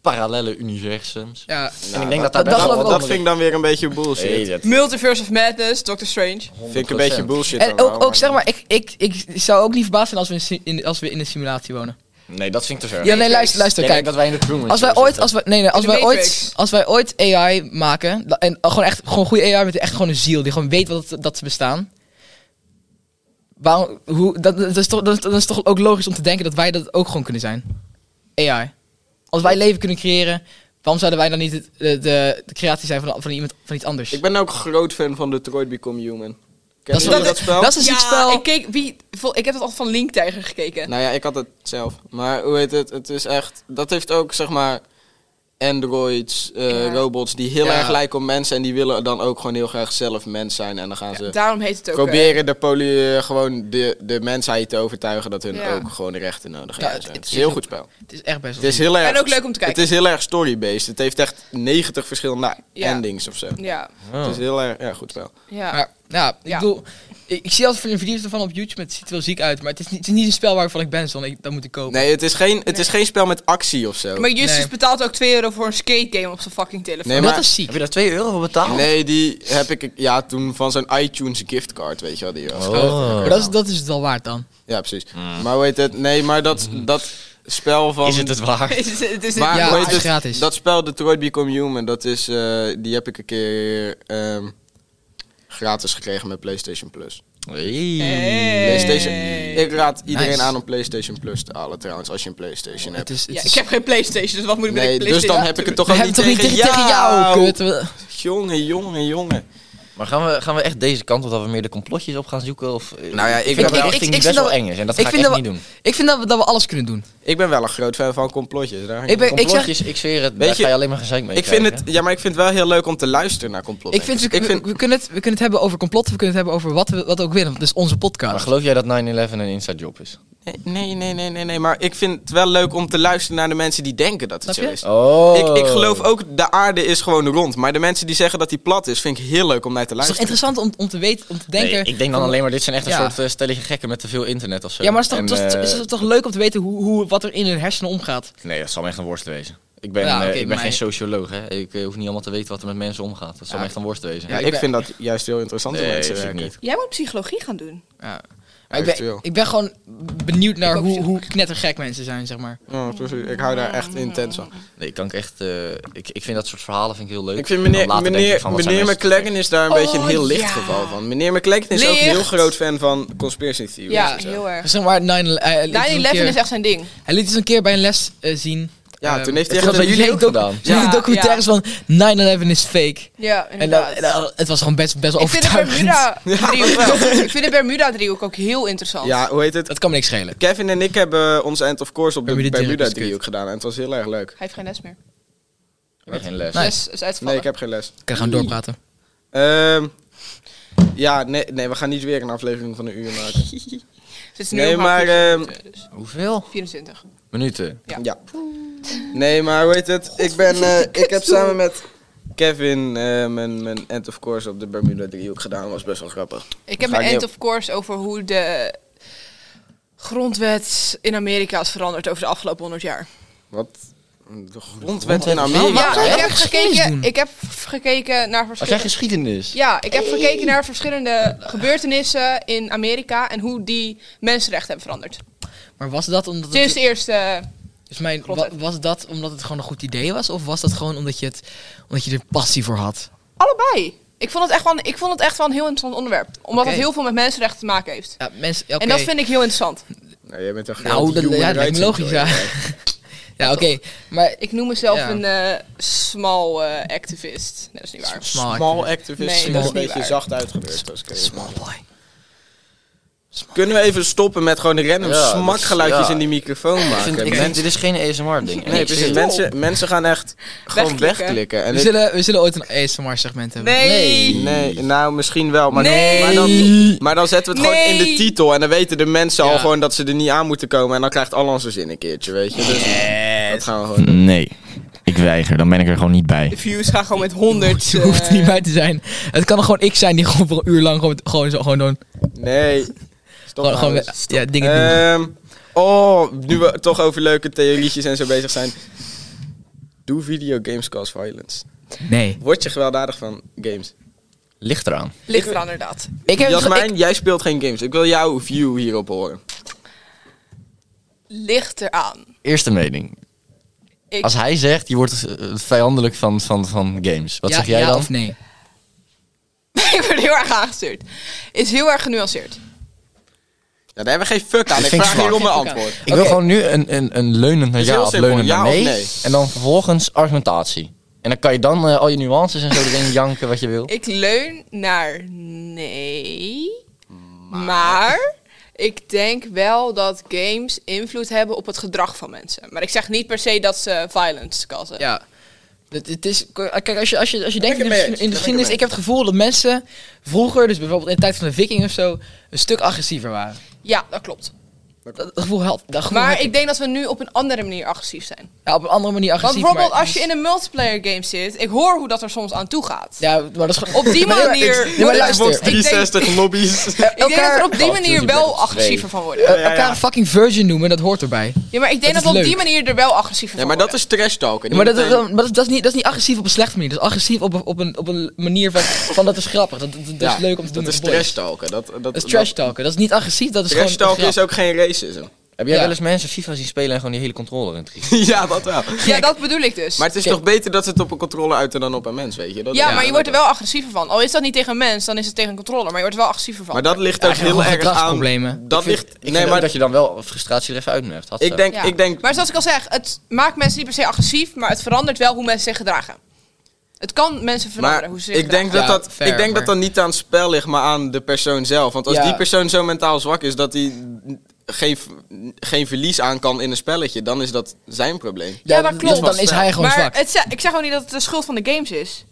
Speaker 4: parallele universums.
Speaker 3: Ja,
Speaker 4: en ik denk dat daar best
Speaker 3: dat- dat
Speaker 4: wel wat
Speaker 3: geloof ik
Speaker 2: Nou, Dat
Speaker 3: ook.
Speaker 2: vind ik dan weer een beetje bullshit.
Speaker 4: Nee, dat
Speaker 1: Multiverse of Madness, Doctor Strange.
Speaker 2: vind ik een beetje
Speaker 4: 100%.
Speaker 2: bullshit.
Speaker 3: En
Speaker 2: allemaal,
Speaker 3: ook, ook zeg maar, ik, ik, ik zou ook niet verbaasd zijn als we in, si- in- als we in een simulatie wonen.
Speaker 4: Nee, dat vind ik te ver.
Speaker 3: Ja, nee, luister,
Speaker 4: Ik
Speaker 3: luister,
Speaker 4: denk
Speaker 3: kijk.
Speaker 4: dat wij in de Truman
Speaker 3: Als wij
Speaker 4: Show
Speaker 3: ooit,
Speaker 4: zitten.
Speaker 3: als wij, nee, nee, als
Speaker 1: In de
Speaker 3: wij ooit,
Speaker 1: Matrix.
Speaker 3: als wij ooit AI maken, da- en gewoon echt gewoon goede AI met echt gewoon een ziel, die gewoon weet wat, dat ze bestaan. Waarom, hoe, dat, dat, is toch, dat, is- dat is toch ook logisch om te denken dat wij dat ook gewoon kunnen zijn. AI. Als wij leven kunnen creëren, waarom zouden wij dan niet het- de, de, de creatie zijn van, van, iemand, van iets anders?
Speaker 2: Ik ben ook groot fan van Detroit Become Human. Kennen
Speaker 3: is-
Speaker 2: jullie dat spel?
Speaker 3: dat is een ziek spel.
Speaker 1: ik, keek, wie, vol- ik heb dat altijd van Link Tiger gekeken.
Speaker 2: Nou ja, ik had het zelf. Maar hoe heet het? Het is echt. Dat heeft ook zeg maar. Androids, eh,
Speaker 1: Ja.
Speaker 2: robots die heel
Speaker 3: Ja.
Speaker 2: erg lijken op mensen en die willen dan ook gewoon heel graag zelf mens zijn. En dan gaan ze
Speaker 1: Daarom heet het ook... eh,
Speaker 2: proberen de poly, eh, gewoon de, de mensheid te overtuigen dat hun
Speaker 1: Ja.
Speaker 2: ook gewoon de rechten nodig
Speaker 3: Ja,
Speaker 2: hebben.
Speaker 3: het-
Speaker 2: Het,
Speaker 3: het
Speaker 2: is
Speaker 3: is
Speaker 2: een heel
Speaker 3: ook-
Speaker 2: goed spel.
Speaker 3: het is echt best
Speaker 2: Het
Speaker 3: wel
Speaker 2: is heel erg.
Speaker 1: En ook leuk om te kijken.
Speaker 2: Het is heel erg story-based. Het heeft echt 90 verschillende
Speaker 1: Ja.
Speaker 2: endings of zo.
Speaker 1: eh, ja,
Speaker 2: Het
Speaker 3: Oh.
Speaker 2: is heel erg ja, goed spel.
Speaker 1: ja.
Speaker 3: Maar ja, ik
Speaker 1: Ja.
Speaker 3: bedoel, ik, ik zie altijd van de video's ervan op YouTube, het ziet er wel ziek uit, maar het is niet, het is niet een spel waarvan ik ben, dan ik, dat moet ik kopen.
Speaker 2: Nee, het is geen, het is geen spel met actie of zo.
Speaker 1: maar Justus
Speaker 3: Nee.
Speaker 1: betaalt ook 2 euro voor een skate game op zijn fucking telefoon.
Speaker 2: Nee,
Speaker 3: dat
Speaker 2: maar-
Speaker 3: is ziek.
Speaker 4: Heb je daar 2 euro voor betaald?
Speaker 2: Nee, die heb ik ja, toen van zo'n iTunes giftcard, weet je wel. Die was.
Speaker 4: Oh.
Speaker 3: Maar dat is, dat is het wel waard dan.
Speaker 2: Ja, precies. Maar hoe heet het? Nee, maar dat, dat spel van...
Speaker 4: Is het het waard?
Speaker 1: Het is- het is-
Speaker 2: Maar
Speaker 3: Hmm. Ja,
Speaker 2: hoe
Speaker 3: het
Speaker 2: heet
Speaker 3: is gratis.
Speaker 2: Dat spel Detroit Become Human, dat is, eh, die heb ik een keer ehm, gratis gekregen met PlayStation Plus.
Speaker 1: Hey.
Speaker 2: PlayStation. Ik raad iedereen
Speaker 3: Nice. Oh,
Speaker 2: aan om PlayStation Plus te halen trouwens, als je een PlayStation
Speaker 3: Het
Speaker 2: hebt.
Speaker 3: is, het
Speaker 1: Ja,
Speaker 3: is-
Speaker 1: ik heb geen Playstation, dus wat moet ik met
Speaker 2: Nee,
Speaker 1: een
Speaker 2: dus
Speaker 1: Playstation?
Speaker 2: dan heb ik het toch
Speaker 3: we
Speaker 2: ook
Speaker 3: hebben
Speaker 2: niet
Speaker 3: toch niet tegen, tegen jou, kut. We-
Speaker 2: Jongen, jongen, jongen.
Speaker 4: Maar gaan we, gaan we echt deze kant op dat we meer de complotjes op gaan zoeken? Of, eh,
Speaker 2: Nou ja, ik
Speaker 4: vind
Speaker 2: ben
Speaker 4: dat
Speaker 2: wel-
Speaker 4: een richting
Speaker 3: ik-
Speaker 4: die
Speaker 3: ik
Speaker 4: best
Speaker 3: vind
Speaker 4: wel
Speaker 3: dat-
Speaker 4: eng is. En dat
Speaker 3: ik
Speaker 4: ga ik
Speaker 3: vind
Speaker 4: echt
Speaker 3: dat
Speaker 4: niet doen.
Speaker 3: Ik vind dat we, dat we alles kunnen doen.
Speaker 2: Ik ben wel een groot fan van complotjes. Daar
Speaker 3: Ik, ben, ik, zeg,
Speaker 4: Complotjes, ik zweer het,
Speaker 2: Weet
Speaker 4: daar
Speaker 2: je-
Speaker 4: ga je alleen maar gezeik mee
Speaker 2: Ik vind het, ja, maar ik vind het wel heel leuk om te luisteren naar
Speaker 3: ik
Speaker 2: complotdenkers.
Speaker 3: vind, we, we- we kunnen het, we kunnen het hebben over complotten, we kunnen het hebben over wat we wat we ook willen. want Het is onze
Speaker 4: Maar
Speaker 3: podcast.
Speaker 4: geloof jij dat 9-11 een inside job is?
Speaker 2: Nee, nee, nee, nee, nee. Maar ik vind het wel leuk om te luisteren naar de mensen die denken dat het
Speaker 3: Snap
Speaker 2: zo
Speaker 3: je?
Speaker 2: is.
Speaker 4: Oh.
Speaker 2: Ik, ik geloof ook, de aarde is gewoon rond. Maar de mensen die zeggen dat die plat is, vind ik heel leuk om naar te
Speaker 3: Het is toch
Speaker 2: luisteren.
Speaker 3: interessant om, om te weten, om te
Speaker 4: Nee,
Speaker 3: denken...
Speaker 4: ik denk dan alleen maar, dit zijn echt een
Speaker 3: Ja.
Speaker 4: soort eh, stelletje gekken met te veel internet of zo.
Speaker 3: Ja, maar het is toch,
Speaker 4: En,
Speaker 3: het is-
Speaker 4: eh,
Speaker 3: is het toch leuk om te weten hoe, hoe, wat er in hun hersenen omgaat?
Speaker 4: Nee, dat zal me echt een worstel wezen. Ik ben,
Speaker 3: Ja,
Speaker 4: eh,
Speaker 3: oké,
Speaker 4: ik ben
Speaker 3: maar-
Speaker 4: geen socioloog, hè. Ik eh, hoef niet allemaal te weten wat er met mensen omgaat. Dat zal
Speaker 3: Ja,
Speaker 4: me echt een worst wezen.
Speaker 3: Ja,
Speaker 2: ik
Speaker 3: ik ben-
Speaker 2: vind dat juist heel interessant hoe
Speaker 4: nee,
Speaker 2: mensen
Speaker 4: dat is ook
Speaker 2: werken.
Speaker 4: niet.
Speaker 1: Jij moet psychologie gaan doen.
Speaker 3: Ja. Maar ik, ben,
Speaker 2: Eventueel.
Speaker 3: ik ben gewoon benieuwd naar
Speaker 1: Ik ook
Speaker 3: hoe,
Speaker 1: zo.
Speaker 3: hoe knettergek mensen zijn, zeg maar.
Speaker 2: Ja, precies. Ik hou daar echt intens van.
Speaker 4: Nee, ik kan ik echt... eh, ik, ik vind dat soort verhalen vind ik heel leuk.
Speaker 2: Ik vind
Speaker 4: En dan
Speaker 2: meneer,
Speaker 4: later denk ik
Speaker 2: meneer,
Speaker 4: van, wat zijn
Speaker 2: meneer
Speaker 4: mensen
Speaker 2: McLaggen is daar een
Speaker 1: Oh,
Speaker 2: beetje een heel licht
Speaker 1: ja.
Speaker 2: geval van. Meneer McLaggen is ook een heel
Speaker 1: Licht.
Speaker 2: groot fan van conspiracy theories.
Speaker 1: Ja,
Speaker 2: en zo.
Speaker 1: heel erg.
Speaker 3: Zeg maar, 9 eh, liet eens een
Speaker 1: 9-11
Speaker 3: keer-
Speaker 1: is echt zijn ding.
Speaker 3: Hij liet eens een keer bij een les eh, zien.
Speaker 2: Ja,
Speaker 3: Ehm,
Speaker 2: toen heeft hij
Speaker 4: Het
Speaker 2: echt
Speaker 4: gaat bij
Speaker 2: een
Speaker 4: jullie
Speaker 2: heel
Speaker 4: ook gedaan.
Speaker 3: Jullie
Speaker 1: Ja,
Speaker 3: documentaires van 9-11 is fake.
Speaker 1: Ja,
Speaker 3: En dan,
Speaker 1: inderdaad.
Speaker 3: en dan- het was gewoon best, best wel
Speaker 1: ik vind de
Speaker 3: overtuigend.
Speaker 1: Bermuda driehoek, ik vind de Bermuda driehoek ook heel interessant.
Speaker 2: Ja, hoe heet het?
Speaker 3: Dat kan me niks schelen.
Speaker 2: Kevin en ik hebben ons end of course op de
Speaker 3: Bermuda driehoek
Speaker 2: Bermuda
Speaker 3: is kut.
Speaker 2: driehoek gedaan. En het was heel erg leuk.
Speaker 1: Hij heeft geen les meer.
Speaker 4: Ik heb geen les.
Speaker 3: Nee.
Speaker 1: Les is uitgevallen.
Speaker 2: Nee, ik heb geen les.
Speaker 3: Ik kan gaan doorpraten.
Speaker 2: Ehm, ja, nee, nee, we gaan niet weer een aflevering van een uur maken.
Speaker 1: Dus het is nu
Speaker 2: Nee,
Speaker 1: om
Speaker 2: maar...
Speaker 1: half
Speaker 2: ehm,
Speaker 1: vier, dus
Speaker 4: Hoeveel?
Speaker 1: 24.
Speaker 4: Minuten.
Speaker 1: Ja.
Speaker 2: Ja. Nee, maar hoe heet het? Ik, ben, eh, ik heb samen met Kevin eh, mijn, mijn end of course op de Bermuda driehoek gedaan. Dat was best wel grappig.
Speaker 1: Ik heb
Speaker 2: Ga
Speaker 1: een
Speaker 2: ik
Speaker 1: end
Speaker 2: niet-
Speaker 1: of course over hoe de grondwet in Amerika is veranderd over de afgelopen 100 jaar.
Speaker 2: Wat? De grondwet in Amerika?
Speaker 1: Ja,
Speaker 3: zou je
Speaker 1: ik heb,
Speaker 3: echt geschiedenis
Speaker 1: gekeken,
Speaker 3: doen?
Speaker 1: ik heb gekeken naar
Speaker 4: Als jij
Speaker 1: verschillende...
Speaker 4: geschiedenis?
Speaker 1: Ja, ik heb gekeken naar verschillende gebeurtenissen in Amerika en hoe die mensenrechten hebben veranderd.
Speaker 3: Maar was dat omdat
Speaker 1: Sinds
Speaker 3: het,
Speaker 1: de eerste...
Speaker 3: dus mijn,
Speaker 1: Klopt.
Speaker 3: wa- was dat omdat het gewoon een goed idee was? Of was dat gewoon omdat je, het, omdat je er passie voor had?
Speaker 1: Allebei. Ik vond het echt wel, een- ik vond het echt wel een heel interessant onderwerp. Omdat
Speaker 3: Oké.
Speaker 1: het heel veel met mensenrechten te maken heeft.
Speaker 3: Ja, mensen, oké.
Speaker 1: En dat vind ik heel interessant.
Speaker 2: Nou, jij bent een
Speaker 3: Nou,
Speaker 2: groot
Speaker 3: dat,
Speaker 2: human
Speaker 3: ja, dat lijkt me
Speaker 2: rights
Speaker 3: logisch, ja.
Speaker 2: enjoyer.
Speaker 3: ja, oké. Maar
Speaker 1: Ik noem mezelf
Speaker 3: Ja.
Speaker 1: een eh, small eh, activist. Nee, dat is niet waar.
Speaker 3: Small
Speaker 2: Small
Speaker 1: Nee,
Speaker 2: activist
Speaker 1: dat
Speaker 2: is
Speaker 1: is
Speaker 2: een
Speaker 1: niet
Speaker 2: beetje
Speaker 1: waar.
Speaker 2: zacht uitgedrukt. als ik even-
Speaker 3: small boy.
Speaker 2: Kunnen we even stoppen met gewoon de random
Speaker 4: Ja, dat is-
Speaker 2: smakgeluidjes
Speaker 4: ja.
Speaker 2: in die microfoon
Speaker 4: Ik
Speaker 2: maken?
Speaker 4: vind, ik vind,
Speaker 2: mensen,
Speaker 4: dit is geen ASMR-ding.
Speaker 2: nee, precies. Mensen, mensen gaan echt gewoon
Speaker 1: Wegklikken.
Speaker 2: wegklikken. En
Speaker 3: We
Speaker 2: ik-
Speaker 3: zullen, we zullen ooit een ASMR-segment hebben.
Speaker 1: Nee.
Speaker 2: nee, nou misschien wel. Maar,
Speaker 1: Nee.
Speaker 2: maar, dan, maar dan zetten we het gewoon in de
Speaker 1: Nee.
Speaker 2: titel. En dan weten de mensen al
Speaker 3: Ja.
Speaker 2: gewoon dat ze er niet aan moeten komen. En dan krijgt al onze zin een keertje, weet je. Dus dat gaan we gewoon doen.
Speaker 4: Nee, ik weiger. Dan ben ik er gewoon niet bij.
Speaker 1: De views gaan gewoon met
Speaker 3: Honderd.
Speaker 1: honderd.
Speaker 3: Je hoeft
Speaker 1: eh,
Speaker 3: niet bij te zijn. Het kan gewoon ik zijn die gewoon voor een uur lang gewoon, gewoon zo gewoon doen.
Speaker 2: Nee. Stop
Speaker 3: Gewoon,
Speaker 2: nou
Speaker 3: gewoon
Speaker 2: eens.
Speaker 3: ja, dingen doen.
Speaker 2: Ehm, oh, nu we toch over leuke theorietjes en zo bezig zijn. Doe videogames cause violence.
Speaker 3: Nee.
Speaker 2: Word je gewelddadig van games?
Speaker 4: Ligt eraan.
Speaker 1: Ligt eraan inderdaad.
Speaker 3: Ik heb,
Speaker 2: Jasmijn, jij speelt geen games. Ik wil jouw view hierop horen.
Speaker 1: Ligt eraan.
Speaker 4: Eerste mening.
Speaker 1: Ik,
Speaker 4: Als hij zegt, je wordt eh, vijandelijk van, van, van games. Wat
Speaker 3: ja,
Speaker 4: zeg jij
Speaker 3: ja
Speaker 4: dan?
Speaker 3: of nee?
Speaker 1: ik word heel erg aangestuurd. Is heel erg genuanceerd.
Speaker 2: Ja, daar hebben we geen fuck aan. Ik
Speaker 4: vind
Speaker 2: vraag
Speaker 4: het
Speaker 2: hier om een
Speaker 3: zwak. Geen fuck
Speaker 2: antwoord.
Speaker 4: Ik wil
Speaker 3: Oké.
Speaker 4: gewoon nu een, een, een leunend naar
Speaker 2: Is heel
Speaker 4: ja of
Speaker 2: simpel,
Speaker 4: leunend
Speaker 2: ja
Speaker 4: naar
Speaker 2: of
Speaker 4: nee.
Speaker 2: nee.
Speaker 4: En dan vervolgens argumentatie. En dan kan je dan eh, al je nuances en zo erin janken wat je wil.
Speaker 1: Ik leun naar nee. Maar. ik denk wel dat games invloed hebben op het gedrag van mensen. Maar ik zeg niet per se dat ze violence causen.
Speaker 3: Ja. Het, het is, kijk, als je, als je, als je denkt in
Speaker 2: ik
Speaker 3: de,
Speaker 2: het mee eens.
Speaker 3: geschiedenis-
Speaker 2: Ben
Speaker 3: in de
Speaker 2: ik het
Speaker 3: geschiedenis,
Speaker 2: mee
Speaker 3: ik heb het gevoel dat mensen vroeger, dus bijvoorbeeld in de tijd van de viking of zo, een stuk agressiever waren.
Speaker 1: ja dat klopt.
Speaker 3: Dat, dat gevoel helpt. Dat gevoel
Speaker 1: Maar
Speaker 3: heb
Speaker 1: ik denk dat we nu op een andere manier agressief zijn.
Speaker 3: Ja, op een andere manier
Speaker 1: Want
Speaker 3: agressief.
Speaker 1: bijvoorbeeld
Speaker 3: maar-
Speaker 1: als je in een multiplayer game zit, ik hoor hoe dat er soms aan toe gaat.
Speaker 3: Ja, maar dat is gewoon...
Speaker 1: Op die
Speaker 3: Maar nee, maar-
Speaker 1: manier-
Speaker 3: Nee, maar luister.
Speaker 2: Xbox
Speaker 1: Ik denk-
Speaker 2: 360 lobby's.
Speaker 1: Ik denk dat
Speaker 3: elkaar-
Speaker 1: we op die
Speaker 4: Oh,
Speaker 1: manier
Speaker 4: Guilty
Speaker 1: wel
Speaker 4: Pleasures
Speaker 1: agressiever van
Speaker 4: twee.
Speaker 3: Eh,
Speaker 1: worden.
Speaker 2: ja, ja.
Speaker 3: elkaar een fucking virgin noemen, dat hoort erbij.
Speaker 1: Ja, maar ik denk dat,
Speaker 3: Dat is
Speaker 1: we op die
Speaker 3: leuk.
Speaker 1: manier er wel agressiever
Speaker 2: Ja,
Speaker 1: van
Speaker 2: maar dat
Speaker 1: worden.
Speaker 2: is trash talken.
Speaker 3: Ja, maar dat, dat, dat, dat is niet, dat is niet agressief op een slechte manier. Dat is agressief op, op, een, op een manier van, van dat is grappig. Dat, dat, dat is leuk om te doen
Speaker 2: Dat
Speaker 3: met
Speaker 2: is
Speaker 3: de boys.
Speaker 2: trash talken. Dat, dat,
Speaker 3: Dat is trash talken. Dat is niet agressief, dat is
Speaker 2: Trash
Speaker 3: gewoon
Speaker 2: talken is ook geen racism.
Speaker 4: Heb jij
Speaker 3: Ja.
Speaker 4: wel eens mensen FIFA zien spelen en gewoon die hele controller in het riet?
Speaker 2: ja, dat wel.
Speaker 1: Ja, dat bedoel ik dus.
Speaker 2: Maar het is toch beter dat ze het op een controller uiten dan op een mens, weet je? Dat
Speaker 1: ja,
Speaker 2: ja,
Speaker 1: maar je
Speaker 2: dat
Speaker 1: wordt er wel agressiever van. Al is dat niet tegen een mens, dan is het tegen een controller. Maar je wordt er wel agressiever van.
Speaker 2: Maar dat ligt ook
Speaker 3: Ja, gewoon
Speaker 2: heel erg aan.
Speaker 3: gedragsproblemen.
Speaker 2: Dat
Speaker 4: Ik vind-
Speaker 2: ligt.
Speaker 4: Ik
Speaker 2: nee,
Speaker 4: vind
Speaker 2: maar
Speaker 4: ook dat je dan wel frustratie er even uitmerkt. Had
Speaker 2: ik denk,
Speaker 1: Ja.
Speaker 2: ik denk.
Speaker 1: Maar zoals ik al zeg, het maakt mensen niet per se agressief, maar het verandert wel hoe mensen zich gedragen. Het kan mensen veranderen
Speaker 2: Maar
Speaker 1: hoe ze zich
Speaker 2: ik denk,
Speaker 1: gedragen.
Speaker 2: dat
Speaker 3: Ja,
Speaker 2: dat,
Speaker 3: fair,
Speaker 2: ik denk
Speaker 3: maar-
Speaker 2: dat dat niet aan het spel ligt, maar aan de persoon zelf. Want als
Speaker 3: Ja.
Speaker 2: die persoon zo mentaal zwak is dat hij geen, geen verlies aan kan in een spelletje, dan is dat zijn probleem.
Speaker 1: Ja, dat klopt.
Speaker 3: Dan is hij gewoon
Speaker 1: maar
Speaker 3: zwak.
Speaker 1: het ze- ik zeg ook niet dat het de schuld van de games is.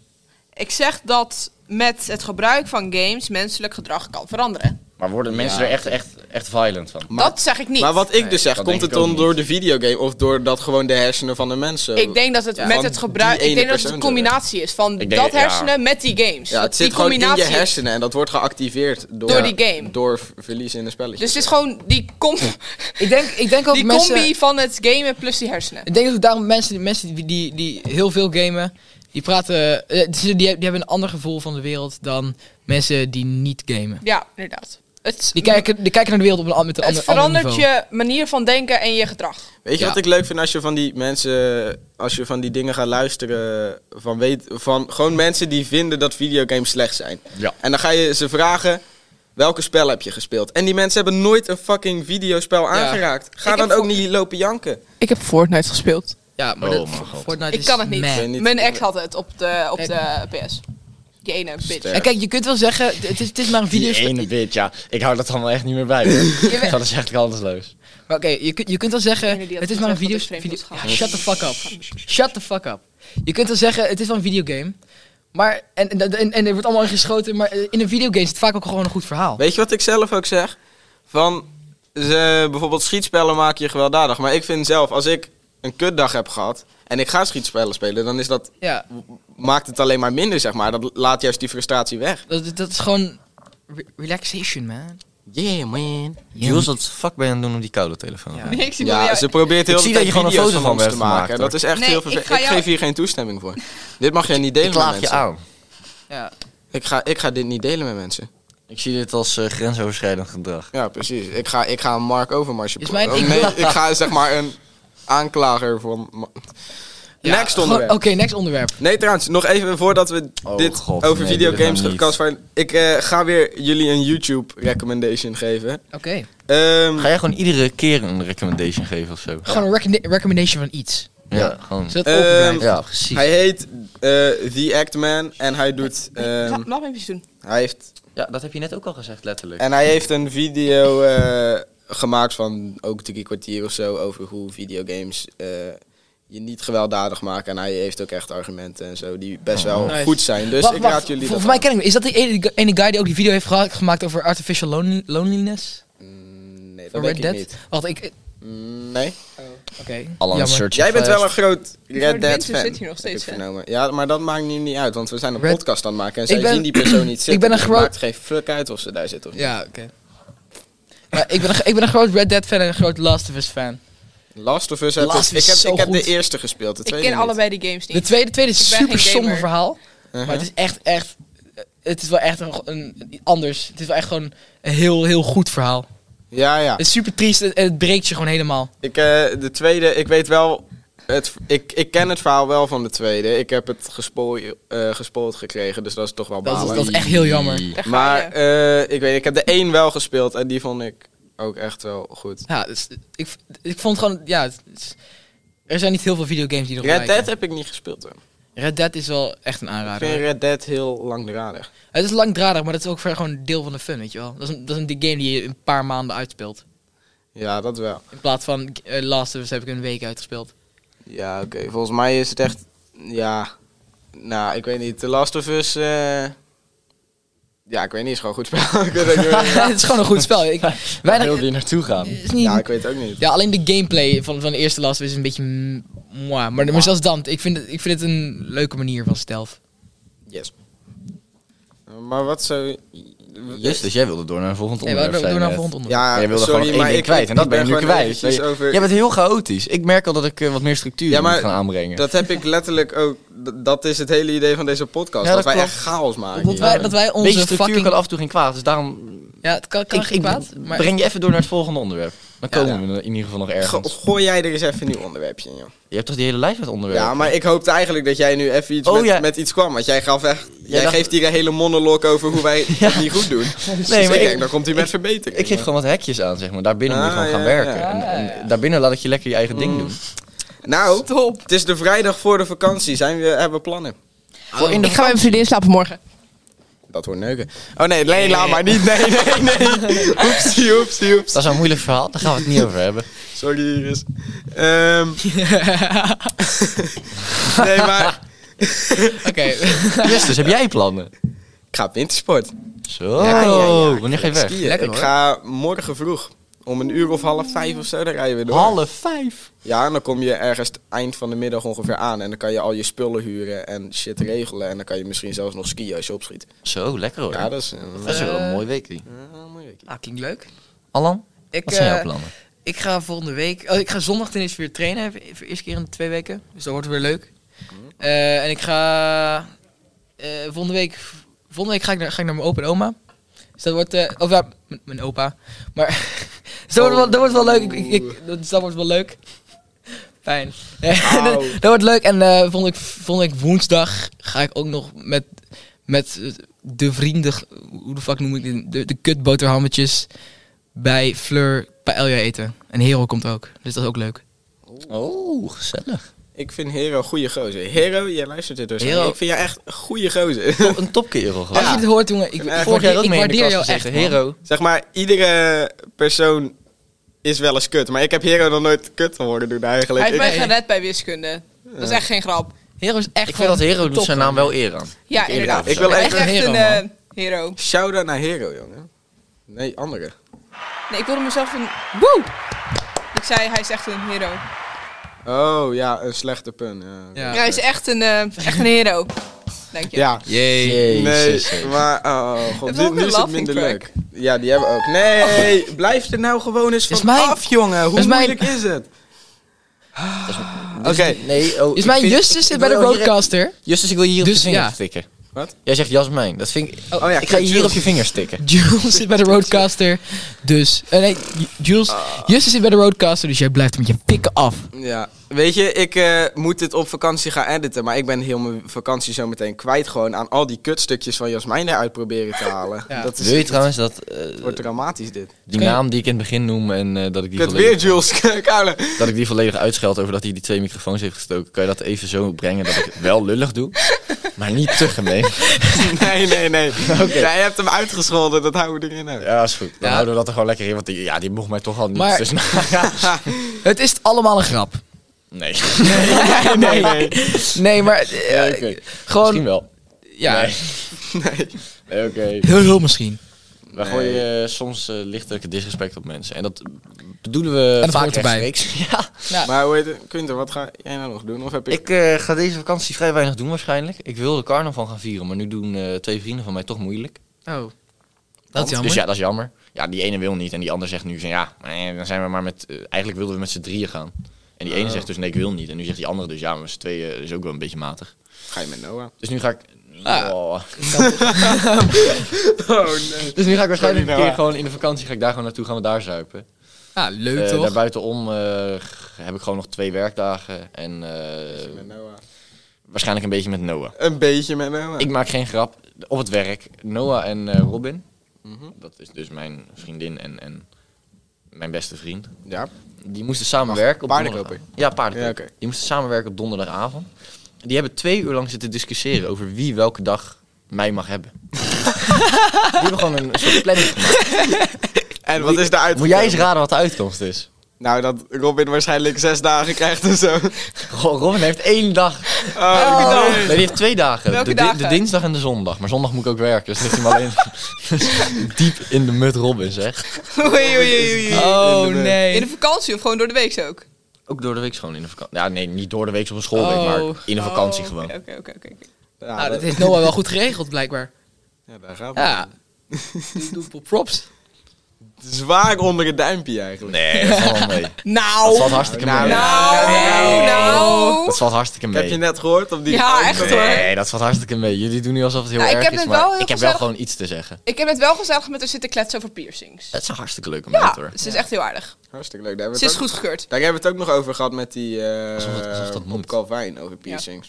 Speaker 1: Ik zeg dat met het gebruik van games menselijk gedrag kan veranderen.
Speaker 4: Maar worden mensen
Speaker 2: Ja.
Speaker 4: er echt, echt, echt violent van?
Speaker 2: Maar-
Speaker 1: dat zeg ik niet.
Speaker 2: Maar wat ik
Speaker 4: Nee,
Speaker 2: dus zeg,
Speaker 4: dat
Speaker 2: komt
Speaker 4: denk
Speaker 2: het
Speaker 4: ik ook
Speaker 2: dan door
Speaker 4: niet.
Speaker 2: de videogame of door dat gewoon de hersenen van de mensen?
Speaker 1: ik denk dat het
Speaker 2: Ja,
Speaker 1: met
Speaker 2: van
Speaker 1: het gebruik.
Speaker 2: die
Speaker 1: Ik denk
Speaker 2: ene
Speaker 1: dat het een
Speaker 2: persoon
Speaker 1: combinatie is van
Speaker 4: Ik denk-
Speaker 1: dat
Speaker 4: ja.
Speaker 1: hersenen met die games.
Speaker 2: ja,
Speaker 1: Dat
Speaker 2: het zit
Speaker 1: die
Speaker 2: gewoon in je
Speaker 1: combinatie is.
Speaker 2: hersenen en dat wordt geactiveerd door,
Speaker 1: Door die game.
Speaker 2: Door v- verliezen in een spelletje.
Speaker 1: Dus het is gewoon die, com
Speaker 3: Ik denk, ik denk ook
Speaker 1: die
Speaker 3: mensen...
Speaker 1: combi van het gamen plus die hersenen.
Speaker 3: Ik denk dat ook daarom mensen, mensen die, die, die heel veel gamen, die praten, eh, die, die hebben een ander gevoel van de wereld dan mensen die niet gamen.
Speaker 1: Ja, inderdaad. Het,
Speaker 3: Die kijken, die kijken naar de wereld op een, an- met een
Speaker 1: het
Speaker 3: ander, ander
Speaker 1: verandert
Speaker 3: niveau.
Speaker 1: je manier van denken en je gedrag.
Speaker 2: Weet je
Speaker 3: Ja.
Speaker 2: wat ik leuk vind als je van die mensen, als je van die dingen gaat luisteren, van, weet, van gewoon mensen die vinden dat videogames slecht zijn.
Speaker 4: Ja.
Speaker 2: En dan ga je ze vragen, welke spel heb je gespeeld? En die mensen hebben nooit een fucking videospel aangeraakt. Ga
Speaker 1: Ik
Speaker 2: dan
Speaker 1: heb
Speaker 2: ook
Speaker 1: voor-
Speaker 2: niet lopen janken.
Speaker 1: Ik heb Fortnite gespeeld.
Speaker 3: Ja, maar
Speaker 4: Oh
Speaker 3: dat-
Speaker 4: mijn god.
Speaker 3: Fortnite
Speaker 1: Ik
Speaker 3: is
Speaker 1: kan het niet.
Speaker 3: meh.
Speaker 2: Nee, niet.
Speaker 1: Mijn ex had het op de, op
Speaker 3: Nee.
Speaker 1: de PS. Die ene bitch.
Speaker 2: Sterk.
Speaker 3: En kijk, je kunt wel zeggen, het is, het is maar een
Speaker 4: Die
Speaker 3: videospel.
Speaker 4: ene bitch, ja. Ik hou dat allemaal echt niet meer bij. hoor. dat is echt kansloos.
Speaker 3: Maar oké, je, kunt- je kunt wel
Speaker 1: Die
Speaker 3: zeggen,
Speaker 1: ene die had
Speaker 3: het is maar een
Speaker 1: gezegd dat
Speaker 3: video...
Speaker 1: ik vreemd
Speaker 3: video-
Speaker 1: was gaan.
Speaker 3: Ja, shut the fuck up. Shut the fuck up. Je kunt wel zeggen, het is wel een videogame. Maar, en, en, en, en er wordt allemaal in geschoten, maar eh, in een videogame is het vaak ook gewoon een goed verhaal.
Speaker 2: Weet je wat ik zelf ook zeg? Van, ze, bijvoorbeeld schietspellen maken je gewelddadig. Maar ik vind zelf, als ik een kutdag heb gehad en ik ga schietspellen spelen, dan is dat,
Speaker 3: Ja,
Speaker 2: maakt het alleen maar minder, zeg maar. Dat laat juist die frustratie weg.
Speaker 3: dat, dat is gewoon re- relaxation, man.
Speaker 4: Yeah, man.
Speaker 3: Yeah. Jules,
Speaker 4: wat fuck ben je aan het doen op die koude telefoon?
Speaker 3: Ja.
Speaker 1: Nee, ik zie wel
Speaker 2: Ja,
Speaker 1: jou-
Speaker 2: ze probeert heel
Speaker 4: Ik
Speaker 2: de
Speaker 4: zie
Speaker 2: tijd
Speaker 4: dat je gewoon een
Speaker 2: video's
Speaker 4: foto
Speaker 2: van
Speaker 4: van
Speaker 2: ons
Speaker 4: me
Speaker 2: te
Speaker 4: hebt gemaakt,
Speaker 2: maken.
Speaker 4: hoor.
Speaker 2: Dat is echt
Speaker 1: Nee,
Speaker 2: heel
Speaker 1: ik
Speaker 2: vervelend.
Speaker 1: ga
Speaker 2: Ik,
Speaker 1: jou-
Speaker 2: geef hier geen toestemming voor. Dit mag jij niet delen
Speaker 4: Ik laag
Speaker 2: met
Speaker 4: je
Speaker 2: mensen.
Speaker 4: aan.
Speaker 3: Ja.
Speaker 2: Ik, ga, ik ga dit niet delen met mensen.
Speaker 4: Ik zie dit als eh, grensoverschrijdend gedrag.
Speaker 2: Ja, precies. Ik ga, ik ga een Mark Overmars
Speaker 3: Is mijn-
Speaker 2: oh,
Speaker 3: ik-
Speaker 2: Nee, ik ga zeg maar een aanklager van... Ma-
Speaker 3: Ja,
Speaker 2: Next
Speaker 3: gewoon-
Speaker 2: onderwerp.
Speaker 3: Oké, next onderwerp.
Speaker 2: Nee, trouwens, nog even voordat we
Speaker 4: Oh,
Speaker 2: dit
Speaker 4: God,
Speaker 2: over
Speaker 4: nee, doe dit
Speaker 2: videogames
Speaker 4: nou
Speaker 2: gaan
Speaker 4: niet.
Speaker 2: kastvrij- Ik eh, ga weer jullie een YouTube recommendation geven.
Speaker 3: Oké.
Speaker 2: Ehm,
Speaker 4: Ga jij gewoon iedere keer een recommendation geven of zo?
Speaker 3: Gewoon een recomenda- recommendation van iets.
Speaker 4: Ja, gewoon.
Speaker 3: Zodat
Speaker 2: Ehm,
Speaker 3: het open blijft.
Speaker 4: Ja, precies.
Speaker 2: hij heet eh, The Act Man en hij doet. ehm,
Speaker 1: Laat laat me even doen.
Speaker 2: hij heeft,
Speaker 4: Ja, dat heb je net ook al gezegd, letterlijk.
Speaker 2: en hij heeft een video eh, gemaakt van ook drie kwartier of zo over hoe videogames eh, je niet gewelddadig maken. En hij heeft ook echt argumenten en zo die best wel
Speaker 3: Nice.
Speaker 2: goed zijn. Dus
Speaker 3: Wacht,
Speaker 2: ik
Speaker 3: wacht,
Speaker 2: raad jullie
Speaker 3: vol-
Speaker 2: dat
Speaker 3: Volgens mij
Speaker 2: aan.
Speaker 3: ken ik hem. Is dat die ene, ene guy die ook die video heeft geha- gemaakt over artificial lonely- loneliness?
Speaker 2: Mm, Nee,
Speaker 3: Van
Speaker 2: dat
Speaker 3: Red
Speaker 2: denk ik
Speaker 3: Dead?
Speaker 2: niet.
Speaker 3: Wacht, ik... eh,
Speaker 2: Mm, Nee.
Speaker 3: Oké,
Speaker 4: Alan
Speaker 3: jammer.
Speaker 4: Search
Speaker 2: Jij bent wel een groot
Speaker 1: Maar de
Speaker 2: Red Dead
Speaker 1: mensen
Speaker 2: fan.
Speaker 1: zitten hier nog
Speaker 2: heb ik
Speaker 1: steeds, hè?
Speaker 2: vernomen. Ja, maar dat maakt nu niet uit, want we zijn een
Speaker 3: Red-
Speaker 2: podcast aan het maken en zij
Speaker 3: ben-
Speaker 2: zien die persoon niet zitten.
Speaker 3: ben een
Speaker 2: dus
Speaker 3: groot-
Speaker 2: Het maakt geen fuck uit of ze daar zitten of niet.
Speaker 3: Ja, oké. Maar ik, ben een, ik ben een groot Red Dead fan en een groot Last of Us fan.
Speaker 2: Last of Us heb
Speaker 3: Last
Speaker 2: ik,
Speaker 3: of
Speaker 2: ik
Speaker 3: Us
Speaker 2: heb,
Speaker 3: zo
Speaker 2: ik heb de
Speaker 3: goed.
Speaker 2: eerste gespeeld, de
Speaker 1: Ik
Speaker 2: tweede
Speaker 1: ken
Speaker 2: niet.
Speaker 1: allebei die games
Speaker 3: De
Speaker 1: niet.
Speaker 3: tweede, tweede is
Speaker 1: Ik ben
Speaker 3: een super
Speaker 1: geen
Speaker 3: somber
Speaker 1: gamer.
Speaker 3: verhaal.
Speaker 2: Uh-huh.
Speaker 3: Maar het is echt, echt... eh, Het is wel echt een, een- een- anders. Het is wel echt gewoon een heel, heel goed verhaal.
Speaker 2: Ja, ja.
Speaker 3: Het is super triest en en het breekt je gewoon helemaal.
Speaker 2: Ik, eh, de tweede, ik weet wel... Het, ik, ik ken het verhaal wel van de tweede. Ik heb het gespoil, eh, gespoild gekregen, dus dat is toch wel
Speaker 3: Dat is-
Speaker 2: balen.
Speaker 3: dat is echt heel jammer.
Speaker 1: Daar ga
Speaker 2: maar
Speaker 1: je.
Speaker 2: eh, ik weet, ik heb de één wel gespeeld en die vond ik ook echt wel goed.
Speaker 3: Ja, dus, ik, ik vond gewoon... Ja, het is- er zijn niet heel veel videogames die erop
Speaker 2: Red Dead
Speaker 3: lijken.
Speaker 2: heb ik niet gespeeld. Hoor.
Speaker 3: Red Dead is wel echt een
Speaker 2: Ik
Speaker 3: aanrader.
Speaker 2: vind Red Dead heel langdradig.
Speaker 3: Het is langdradig, maar dat is ook ver- gewoon deel van de fun, weet je wel. Dat is, een, dat is een game die je een paar maanden uitspeelt.
Speaker 2: Ja, dat wel.
Speaker 3: In plaats van eh, Last of Us heb ik een week uitgespeeld.
Speaker 2: Ja, oké. Volgens mij is het echt... Ja... Nou, ik weet niet. The Last of Us... eh, Ja, ik weet niet. is gewoon een goed spel. ik weet het ook niet meer.
Speaker 3: het is gewoon een goed spel. Ik, weinig,
Speaker 4: wil je naartoe gaan?
Speaker 3: het is niet,
Speaker 2: Ja,
Speaker 3: ja,
Speaker 2: ik weet het ook niet.
Speaker 3: alleen de gameplay van, van de eerste Last of Us is een beetje... mm, moi. Maar, maar zelfs dan, ik vind, het, ik vind het een leuke manier van stealth.
Speaker 2: Yes. Eh, Maar wat zo...
Speaker 4: Yes, dus jij wilde door naar een volgend
Speaker 3: Nee, we
Speaker 4: onderwerp.
Speaker 3: doen nou
Speaker 4: zijn
Speaker 3: een
Speaker 4: net.
Speaker 3: volgend onderwerp.
Speaker 2: Ja,
Speaker 4: Jij wilde
Speaker 2: sorry,
Speaker 4: gewoon één
Speaker 2: maar
Speaker 4: ding
Speaker 2: ik,
Speaker 4: kwijt en dat ben je
Speaker 2: ik
Speaker 4: nu
Speaker 2: gewoon
Speaker 4: kwijt.
Speaker 2: eventjes Over...
Speaker 4: Jij bent heel chaotisch. Ik merk al dat ik eh, wat meer structuur
Speaker 2: Ja, maar
Speaker 4: moet gaan aanbrengen.
Speaker 2: Dat heb ik letterlijk ook... d- Dat is het hele idee van deze podcast.
Speaker 4: Ja,
Speaker 2: dat, wij
Speaker 4: dat klopt.
Speaker 2: echt chaos maken.
Speaker 3: Dat wij,
Speaker 2: hier.
Speaker 3: dat wij
Speaker 4: Beetje
Speaker 3: onze
Speaker 4: structuur
Speaker 3: fucking...
Speaker 4: kan af en toe geen kwaad, dus daarom...
Speaker 3: Ja, het kan, kan
Speaker 4: ik,
Speaker 3: geen
Speaker 4: ik
Speaker 3: kwaad. Maar
Speaker 4: breng je even door naar het volgende onderwerp. Dan
Speaker 2: Ja,
Speaker 4: komen
Speaker 2: ja.
Speaker 4: we in ieder geval nog
Speaker 2: Go-
Speaker 4: ergens. Oh,
Speaker 2: Gooi jij er eens even een nieuw onderwerpje in, joh.
Speaker 4: Je hebt toch die hele lijst met onderwerpen?
Speaker 2: Ja, maar ik hoopte eigenlijk dat jij nu even iets
Speaker 4: Oh,
Speaker 2: met,
Speaker 4: ja.
Speaker 2: met iets kwam. Want jij gaf echt. Jij
Speaker 4: dacht-
Speaker 2: geeft hier een hele monoloog over hoe wij het niet goed doen. nee, maar
Speaker 4: maar
Speaker 2: ik
Speaker 4: ik-
Speaker 2: denk, dan komt hij met verbetering.
Speaker 4: Ik geef gewoon wat hekjes aan, zeg maar. Daarbinnen moet je
Speaker 2: Ah,
Speaker 4: gewoon gaan
Speaker 2: ja, Mm. ja.
Speaker 4: werken. En, en
Speaker 3: Ah, ja.
Speaker 4: daarbinnen laat ik je lekker je eigen ding doen.
Speaker 2: Nou, het is de vrijdag voor de vakantie. Zijn we, hebben we plannen? Oh,
Speaker 3: Voor in de
Speaker 1: Ik ga bij mijn vriendin slapen morgen.
Speaker 2: Dat wordt neuken. Oh nee, nee, laat maar niet. Nee, nee, nee. Oepsie, oepsie, oeps.
Speaker 4: Dat is een moeilijk verhaal, daar gaan we het niet over hebben.
Speaker 2: Sorry, Iris. Ehm, nee, maar
Speaker 3: Oké.
Speaker 4: Justus, heb jij plannen?
Speaker 2: ik ga op wintersport.
Speaker 4: Zo,
Speaker 2: Ja, ja, ja, ik
Speaker 4: wanneer ga je weg?
Speaker 2: Skiën.
Speaker 3: Lekker,
Speaker 2: ik
Speaker 3: hoor.
Speaker 2: ga morgen vroeg. Om een uur of half vijf of zo, dan rijden we door.
Speaker 4: Half vijf.
Speaker 2: Ja, en dan kom je ergens het eind van de middag ongeveer aan. En dan kan je al je spullen huren en shit regelen. En dan kan je misschien zelfs nog skiën als je opschiet.
Speaker 4: Zo, lekker hoor.
Speaker 2: Ja, dat is eh,
Speaker 4: Dat is wel
Speaker 3: Eh.
Speaker 4: een mooi weekje.
Speaker 2: een mooie week.
Speaker 3: Ah, klinkt leuk.
Speaker 4: Allan,
Speaker 3: Ik,
Speaker 4: wat zijn jouw
Speaker 3: eh,
Speaker 4: plannen?
Speaker 3: ik ga volgende week... Oh, ik ga zondag ten eerste weer trainen. Voor voor de eerste keer in twee weken. Dus dat wordt weer leuk. Eh, en ik ga... eh, volgende week... Volgende week ga ik, naar, ga ik naar mijn opa en oma. Dus dat wordt... eh, of ja, m- mijn opa. Maar... dus dat, wordt wel, dat wordt wel leuk. Ik, ik, ik- dat, dus dat wordt wel leuk. Fijn. Eh, dat,
Speaker 2: Auw.
Speaker 3: dat wordt leuk. En eh volgende, week, volgende week woensdag ga ik ook nog met... Met eh, de vrienden... Hoe de fuck noem ik dit? De, de kutboterhammetjes bij Fleur bij Elja eten. En Hero komt ook. Dus dat is ook leuk.
Speaker 4: Oh, gezellig.
Speaker 2: Ik vind Hero goede gozer. Hero, jij luistert dit dus.
Speaker 3: Hero.
Speaker 2: Ik vind jou echt goede gozer.
Speaker 4: Top- een topkerel gewoon.
Speaker 3: Als je dit hoort, jongen,
Speaker 4: eh,
Speaker 3: ik,
Speaker 2: En eigenlijk
Speaker 3: vorig jaar ook ik
Speaker 4: mee in de
Speaker 3: waardeer jou
Speaker 4: klas
Speaker 3: echt.
Speaker 4: gezeten. Hero.
Speaker 2: zeg maar, iedere persoon is wel eens kut. Maar ik heb Hero nog nooit kut horen doen eigenlijk.
Speaker 1: Hij heeft
Speaker 2: Ik-
Speaker 1: mij gered bij wiskunde. Dat is echt geen grap.
Speaker 3: man. Hero is echt
Speaker 4: Ik vind dat Hero doet zijn naam wel eer aan.
Speaker 1: Ja,
Speaker 2: Ik-
Speaker 1: inderdaad.
Speaker 2: ik wil
Speaker 1: Hij is
Speaker 2: even-
Speaker 1: echt
Speaker 3: Hero,
Speaker 1: een eh, hero.
Speaker 2: Shout-out naar Hero, jongen. Nee, andere.
Speaker 1: Nee, ik wilde mezelf een... Woe! Ik zei, hij is echt een hero.
Speaker 2: Oh, ja, een slechte pun. Ja.
Speaker 3: Ja.
Speaker 1: Ja, hij is echt een, eh, echt een hero. Dank je.
Speaker 2: Ja.
Speaker 4: Jee.
Speaker 2: Nee, maar oh, god,
Speaker 1: Hebben we
Speaker 2: dit,
Speaker 1: ook een
Speaker 2: nu is het
Speaker 1: laughing
Speaker 2: minder
Speaker 1: track?
Speaker 2: leuk. Ja, die hebben we ook. Nee, blijf er nou gewoon eens
Speaker 3: Is
Speaker 2: van
Speaker 3: mijn-
Speaker 2: af, jongen. Hoe
Speaker 3: is mijn-
Speaker 2: moeilijk is het? Oké,
Speaker 4: Nee, oh,
Speaker 3: Is
Speaker 4: ik
Speaker 3: mijn
Speaker 4: vind- ik-
Speaker 3: Justus
Speaker 4: ik
Speaker 3: zit bij de
Speaker 4: wil hier-
Speaker 3: roadcaster?
Speaker 4: Justus, ik wil je hier op
Speaker 3: Dus,
Speaker 4: je vinger
Speaker 3: ja.
Speaker 4: stikken.
Speaker 2: Wat?
Speaker 4: Jij zegt Jasmijn. Dat vind ik...
Speaker 2: Oh, ja,
Speaker 4: ik ga je hier
Speaker 2: Jules.
Speaker 4: op je vinger stikken.
Speaker 3: Jules zit bij de roadcaster. Dus. eh, nee, J- Jules.
Speaker 4: Ah.
Speaker 3: Justus zit bij de roadcaster, dus jij blijft met je pikken af.
Speaker 2: Ja, weet je, ik eh, moet dit op vakantie gaan editen, maar ik ben heel mijn vakantie zo meteen kwijt gewoon aan al die kutstukjes van Jasmijn eruit proberen te halen.
Speaker 3: Ja.
Speaker 2: Dat is,
Speaker 4: Wil je trouwens dat... eh,
Speaker 2: het wordt dramatisch dit.
Speaker 4: die naam die ik in het begin noem en eh, dat, ik die
Speaker 2: Kut weer
Speaker 4: volledig,
Speaker 2: Jules Kouwen.
Speaker 4: dat ik die volledig uitscheld over dat hij die twee microfoons heeft gestoken. Kan je dat even zo brengen dat ik het wel lullig doe, maar niet te gemeen?
Speaker 2: Nee, nee, nee. Jij hebt hem uitgescholden, dat houden we erin. uit.
Speaker 4: Ja, is goed. Dan
Speaker 3: Ja.
Speaker 4: houden we dat er gewoon lekker in, want die, ja, die mocht mij toch al niet.
Speaker 3: Maar-
Speaker 4: Dus, nou, ja.
Speaker 3: Het is allemaal een grap.
Speaker 4: Nee.
Speaker 2: Nee, nee.
Speaker 3: Nee, maar. eh,
Speaker 4: Ja, oké. Misschien
Speaker 3: Gewoon.
Speaker 4: wel.
Speaker 3: Ja.
Speaker 4: Nee.
Speaker 2: nee.
Speaker 4: Nee, Oké.
Speaker 3: Heel, heel misschien.
Speaker 4: Wij gooien eh, soms eh, lichtelijk disrespect op mensen. En dat bedoelen we
Speaker 3: dat
Speaker 4: vaak
Speaker 3: hoort erbij.
Speaker 4: rechtstreeks. Ja.
Speaker 2: Maar hoe heet het? Kunter, wat ga jij nou nog doen? Of heb ik...
Speaker 4: Ik eh, ga deze vakantie vrij weinig doen waarschijnlijk. Ik wilde carnaval gaan vieren, maar nu doen eh, twee vrienden van mij toch moeilijk.
Speaker 3: Oh. Dat is jammer.
Speaker 4: Dus ja, dat is jammer. Ja, die ene wil niet en die ander zegt nu van ja, eh, dan zijn we maar met... eh, eigenlijk wilden we met z'n drieën gaan. En die ene
Speaker 2: Oh.
Speaker 4: zegt dus nee, ik wil niet. En nu zegt die andere dus ja, maar met z'n tweeën is ook wel een beetje matig.
Speaker 2: Ga je met Noah?
Speaker 4: Dus nu ga ik...
Speaker 3: Ah.
Speaker 4: Oh.
Speaker 2: Oh, nee.
Speaker 4: Dus nu ga ik waarschijnlijk een
Speaker 2: Sorry,
Speaker 4: keer
Speaker 2: Noah.
Speaker 4: gewoon in de vakantie ga ik daar gewoon naartoe, gaan we daar zuipen.
Speaker 3: Ah, leuk
Speaker 4: Eh,
Speaker 3: toch?
Speaker 4: daarbuitenom eh, g- heb ik gewoon nog twee werkdagen. En eh,
Speaker 2: Met Noah.
Speaker 4: waarschijnlijk een beetje met Noah.
Speaker 2: Een beetje met Noah.
Speaker 4: Ik maak geen grap. Op het werk. Noah en eh, Robin.
Speaker 2: Mhm.
Speaker 4: Dat is dus mijn vriendin en, en mijn beste vriend.
Speaker 2: Ja.
Speaker 4: Die moesten samenwerken op
Speaker 2: paardenkoper.
Speaker 4: donderdag. Ja, paardenkoper.
Speaker 2: Ja, oké.
Speaker 4: Die moesten samenwerken op donderdagavond. Die hebben twee uur lang zitten discussiëren over wie welke dag mij mag hebben. die hebben gewoon een soort planning gemaakt.
Speaker 2: En wat is de uitkomst?
Speaker 4: Moet jij eens raden wat de uitkomst is?
Speaker 2: Nou, dat Robin waarschijnlijk zes dagen krijgt en zo.
Speaker 4: Ro- Robin heeft één dag
Speaker 2: Oh, nee.
Speaker 4: Nee, die heeft twee dagen.
Speaker 1: Welke
Speaker 4: de, di-
Speaker 1: dagen?
Speaker 4: de dinsdag en de zondag. Maar zondag moet ik ook werken. Dus ligt hij maar alleen diep in de mut Robin, zeg.
Speaker 1: Oei, oei, oei, oei.
Speaker 3: Oh
Speaker 2: In de-
Speaker 1: In de
Speaker 3: nee.
Speaker 1: vakantie of gewoon door de week ook?
Speaker 4: Ook door de week gewoon in de vakantie. Ja, nee, niet door de week op een schoolweek,
Speaker 3: Oh.
Speaker 4: maar in de vakantie
Speaker 1: Oh,
Speaker 4: gewoon.
Speaker 1: Oké, oké, oké, oké. oké.
Speaker 2: Ja,
Speaker 3: Ah,
Speaker 2: dat-
Speaker 3: dat heeft Noah wel goed geregeld, blijkbaar.
Speaker 2: ja, daar gaat het.
Speaker 3: Ja. Doe- Doe props.
Speaker 2: Zwaar onder het duimpje eigenlijk.
Speaker 4: Nee, dat valt wel mee. Dat
Speaker 1: Nou,
Speaker 4: valt
Speaker 1: nou,
Speaker 4: hartstikke
Speaker 2: Nou,
Speaker 4: mee.
Speaker 1: nou,
Speaker 4: Dat valt hartstikke mee.
Speaker 2: Heb je net gehoord? Op die
Speaker 1: Ja, echt
Speaker 2: Nee.
Speaker 1: hoor.
Speaker 4: Nee, dat valt hartstikke mee. Jullie doen nu alsof het heel
Speaker 1: Nou, ik
Speaker 4: erg
Speaker 1: heb
Speaker 4: is,
Speaker 1: het
Speaker 4: maar
Speaker 1: wel heel
Speaker 4: ik heb wel
Speaker 1: gezellig-
Speaker 4: gewoon iets te zeggen.
Speaker 1: Ik heb het wel gezellig met haar zitten kletsen over piercings.
Speaker 4: Het is een hartstikke leuke
Speaker 1: Ja,
Speaker 4: moment, hoor.
Speaker 1: ze is echt heel aardig.
Speaker 2: Hartstikke leuk. Daar hebben,
Speaker 1: Ze
Speaker 2: we
Speaker 1: is
Speaker 2: het ook,
Speaker 1: goedgekeurd.
Speaker 2: daar hebben we het ook nog over gehad met die... eh
Speaker 4: Alsof het- alsof dat
Speaker 2: op
Speaker 4: moet.
Speaker 2: Calvijn over piercings.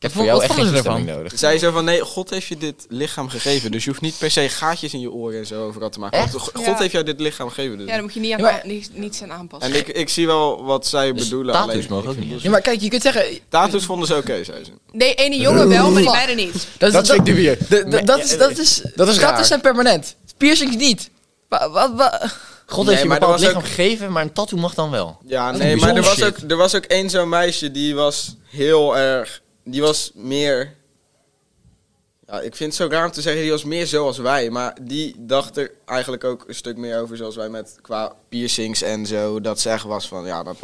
Speaker 4: Ik heb
Speaker 3: Wat
Speaker 4: voor jou echt
Speaker 3: vonden
Speaker 4: geen
Speaker 3: ze ervan?
Speaker 4: toestemming nodig.
Speaker 2: Zij zo van, nee, God heeft je dit lichaam gegeven. Dus je hoeft niet per se gaatjes in je oren en zo overal te maken.
Speaker 4: Echt?
Speaker 2: God, God
Speaker 1: Ja.
Speaker 2: heeft jou dit lichaam gegeven. Dus.
Speaker 1: Ja, daar moet je niet aan,
Speaker 3: Ja, maar-
Speaker 1: niet, niets aan aanpassen.
Speaker 2: en ik, ik zie wel wat zij
Speaker 4: Dus
Speaker 2: bedoelen.
Speaker 4: tattoos
Speaker 2: alleen-
Speaker 4: mogen ook niet.
Speaker 3: Ja, maar kijk, je kunt zeggen,
Speaker 2: Tattoos vonden ze oké, zei ze.
Speaker 1: Nee, ene jongen wel, maar die meiden niet.
Speaker 3: Dat,
Speaker 4: Dat vind
Speaker 3: is
Speaker 4: ik
Speaker 3: dat-
Speaker 4: dubieus.
Speaker 3: de- de- Dat is dat is
Speaker 4: Dat is raar.
Speaker 3: tattoos zijn permanent. Piercings niet. Wa- wa- wa-
Speaker 4: God
Speaker 2: Nee,
Speaker 4: heeft je
Speaker 2: maar
Speaker 4: een
Speaker 2: er
Speaker 4: bepaald
Speaker 2: was
Speaker 4: lichaam
Speaker 2: ook-
Speaker 4: gegeven, maar een tattoo mag dan wel.
Speaker 2: Ja,
Speaker 4: is
Speaker 2: nee,
Speaker 4: een
Speaker 2: maar er was,
Speaker 4: bijzonder
Speaker 2: ook, er was ook één zo'n meisje die was heel erg. Die was meer. Ja, ik vind het zo raar om te zeggen, die was meer zoals wij. Maar die dacht er eigenlijk ook een stuk meer over zoals wij met qua piercings en zo. Dat ze echt was van, ja, dat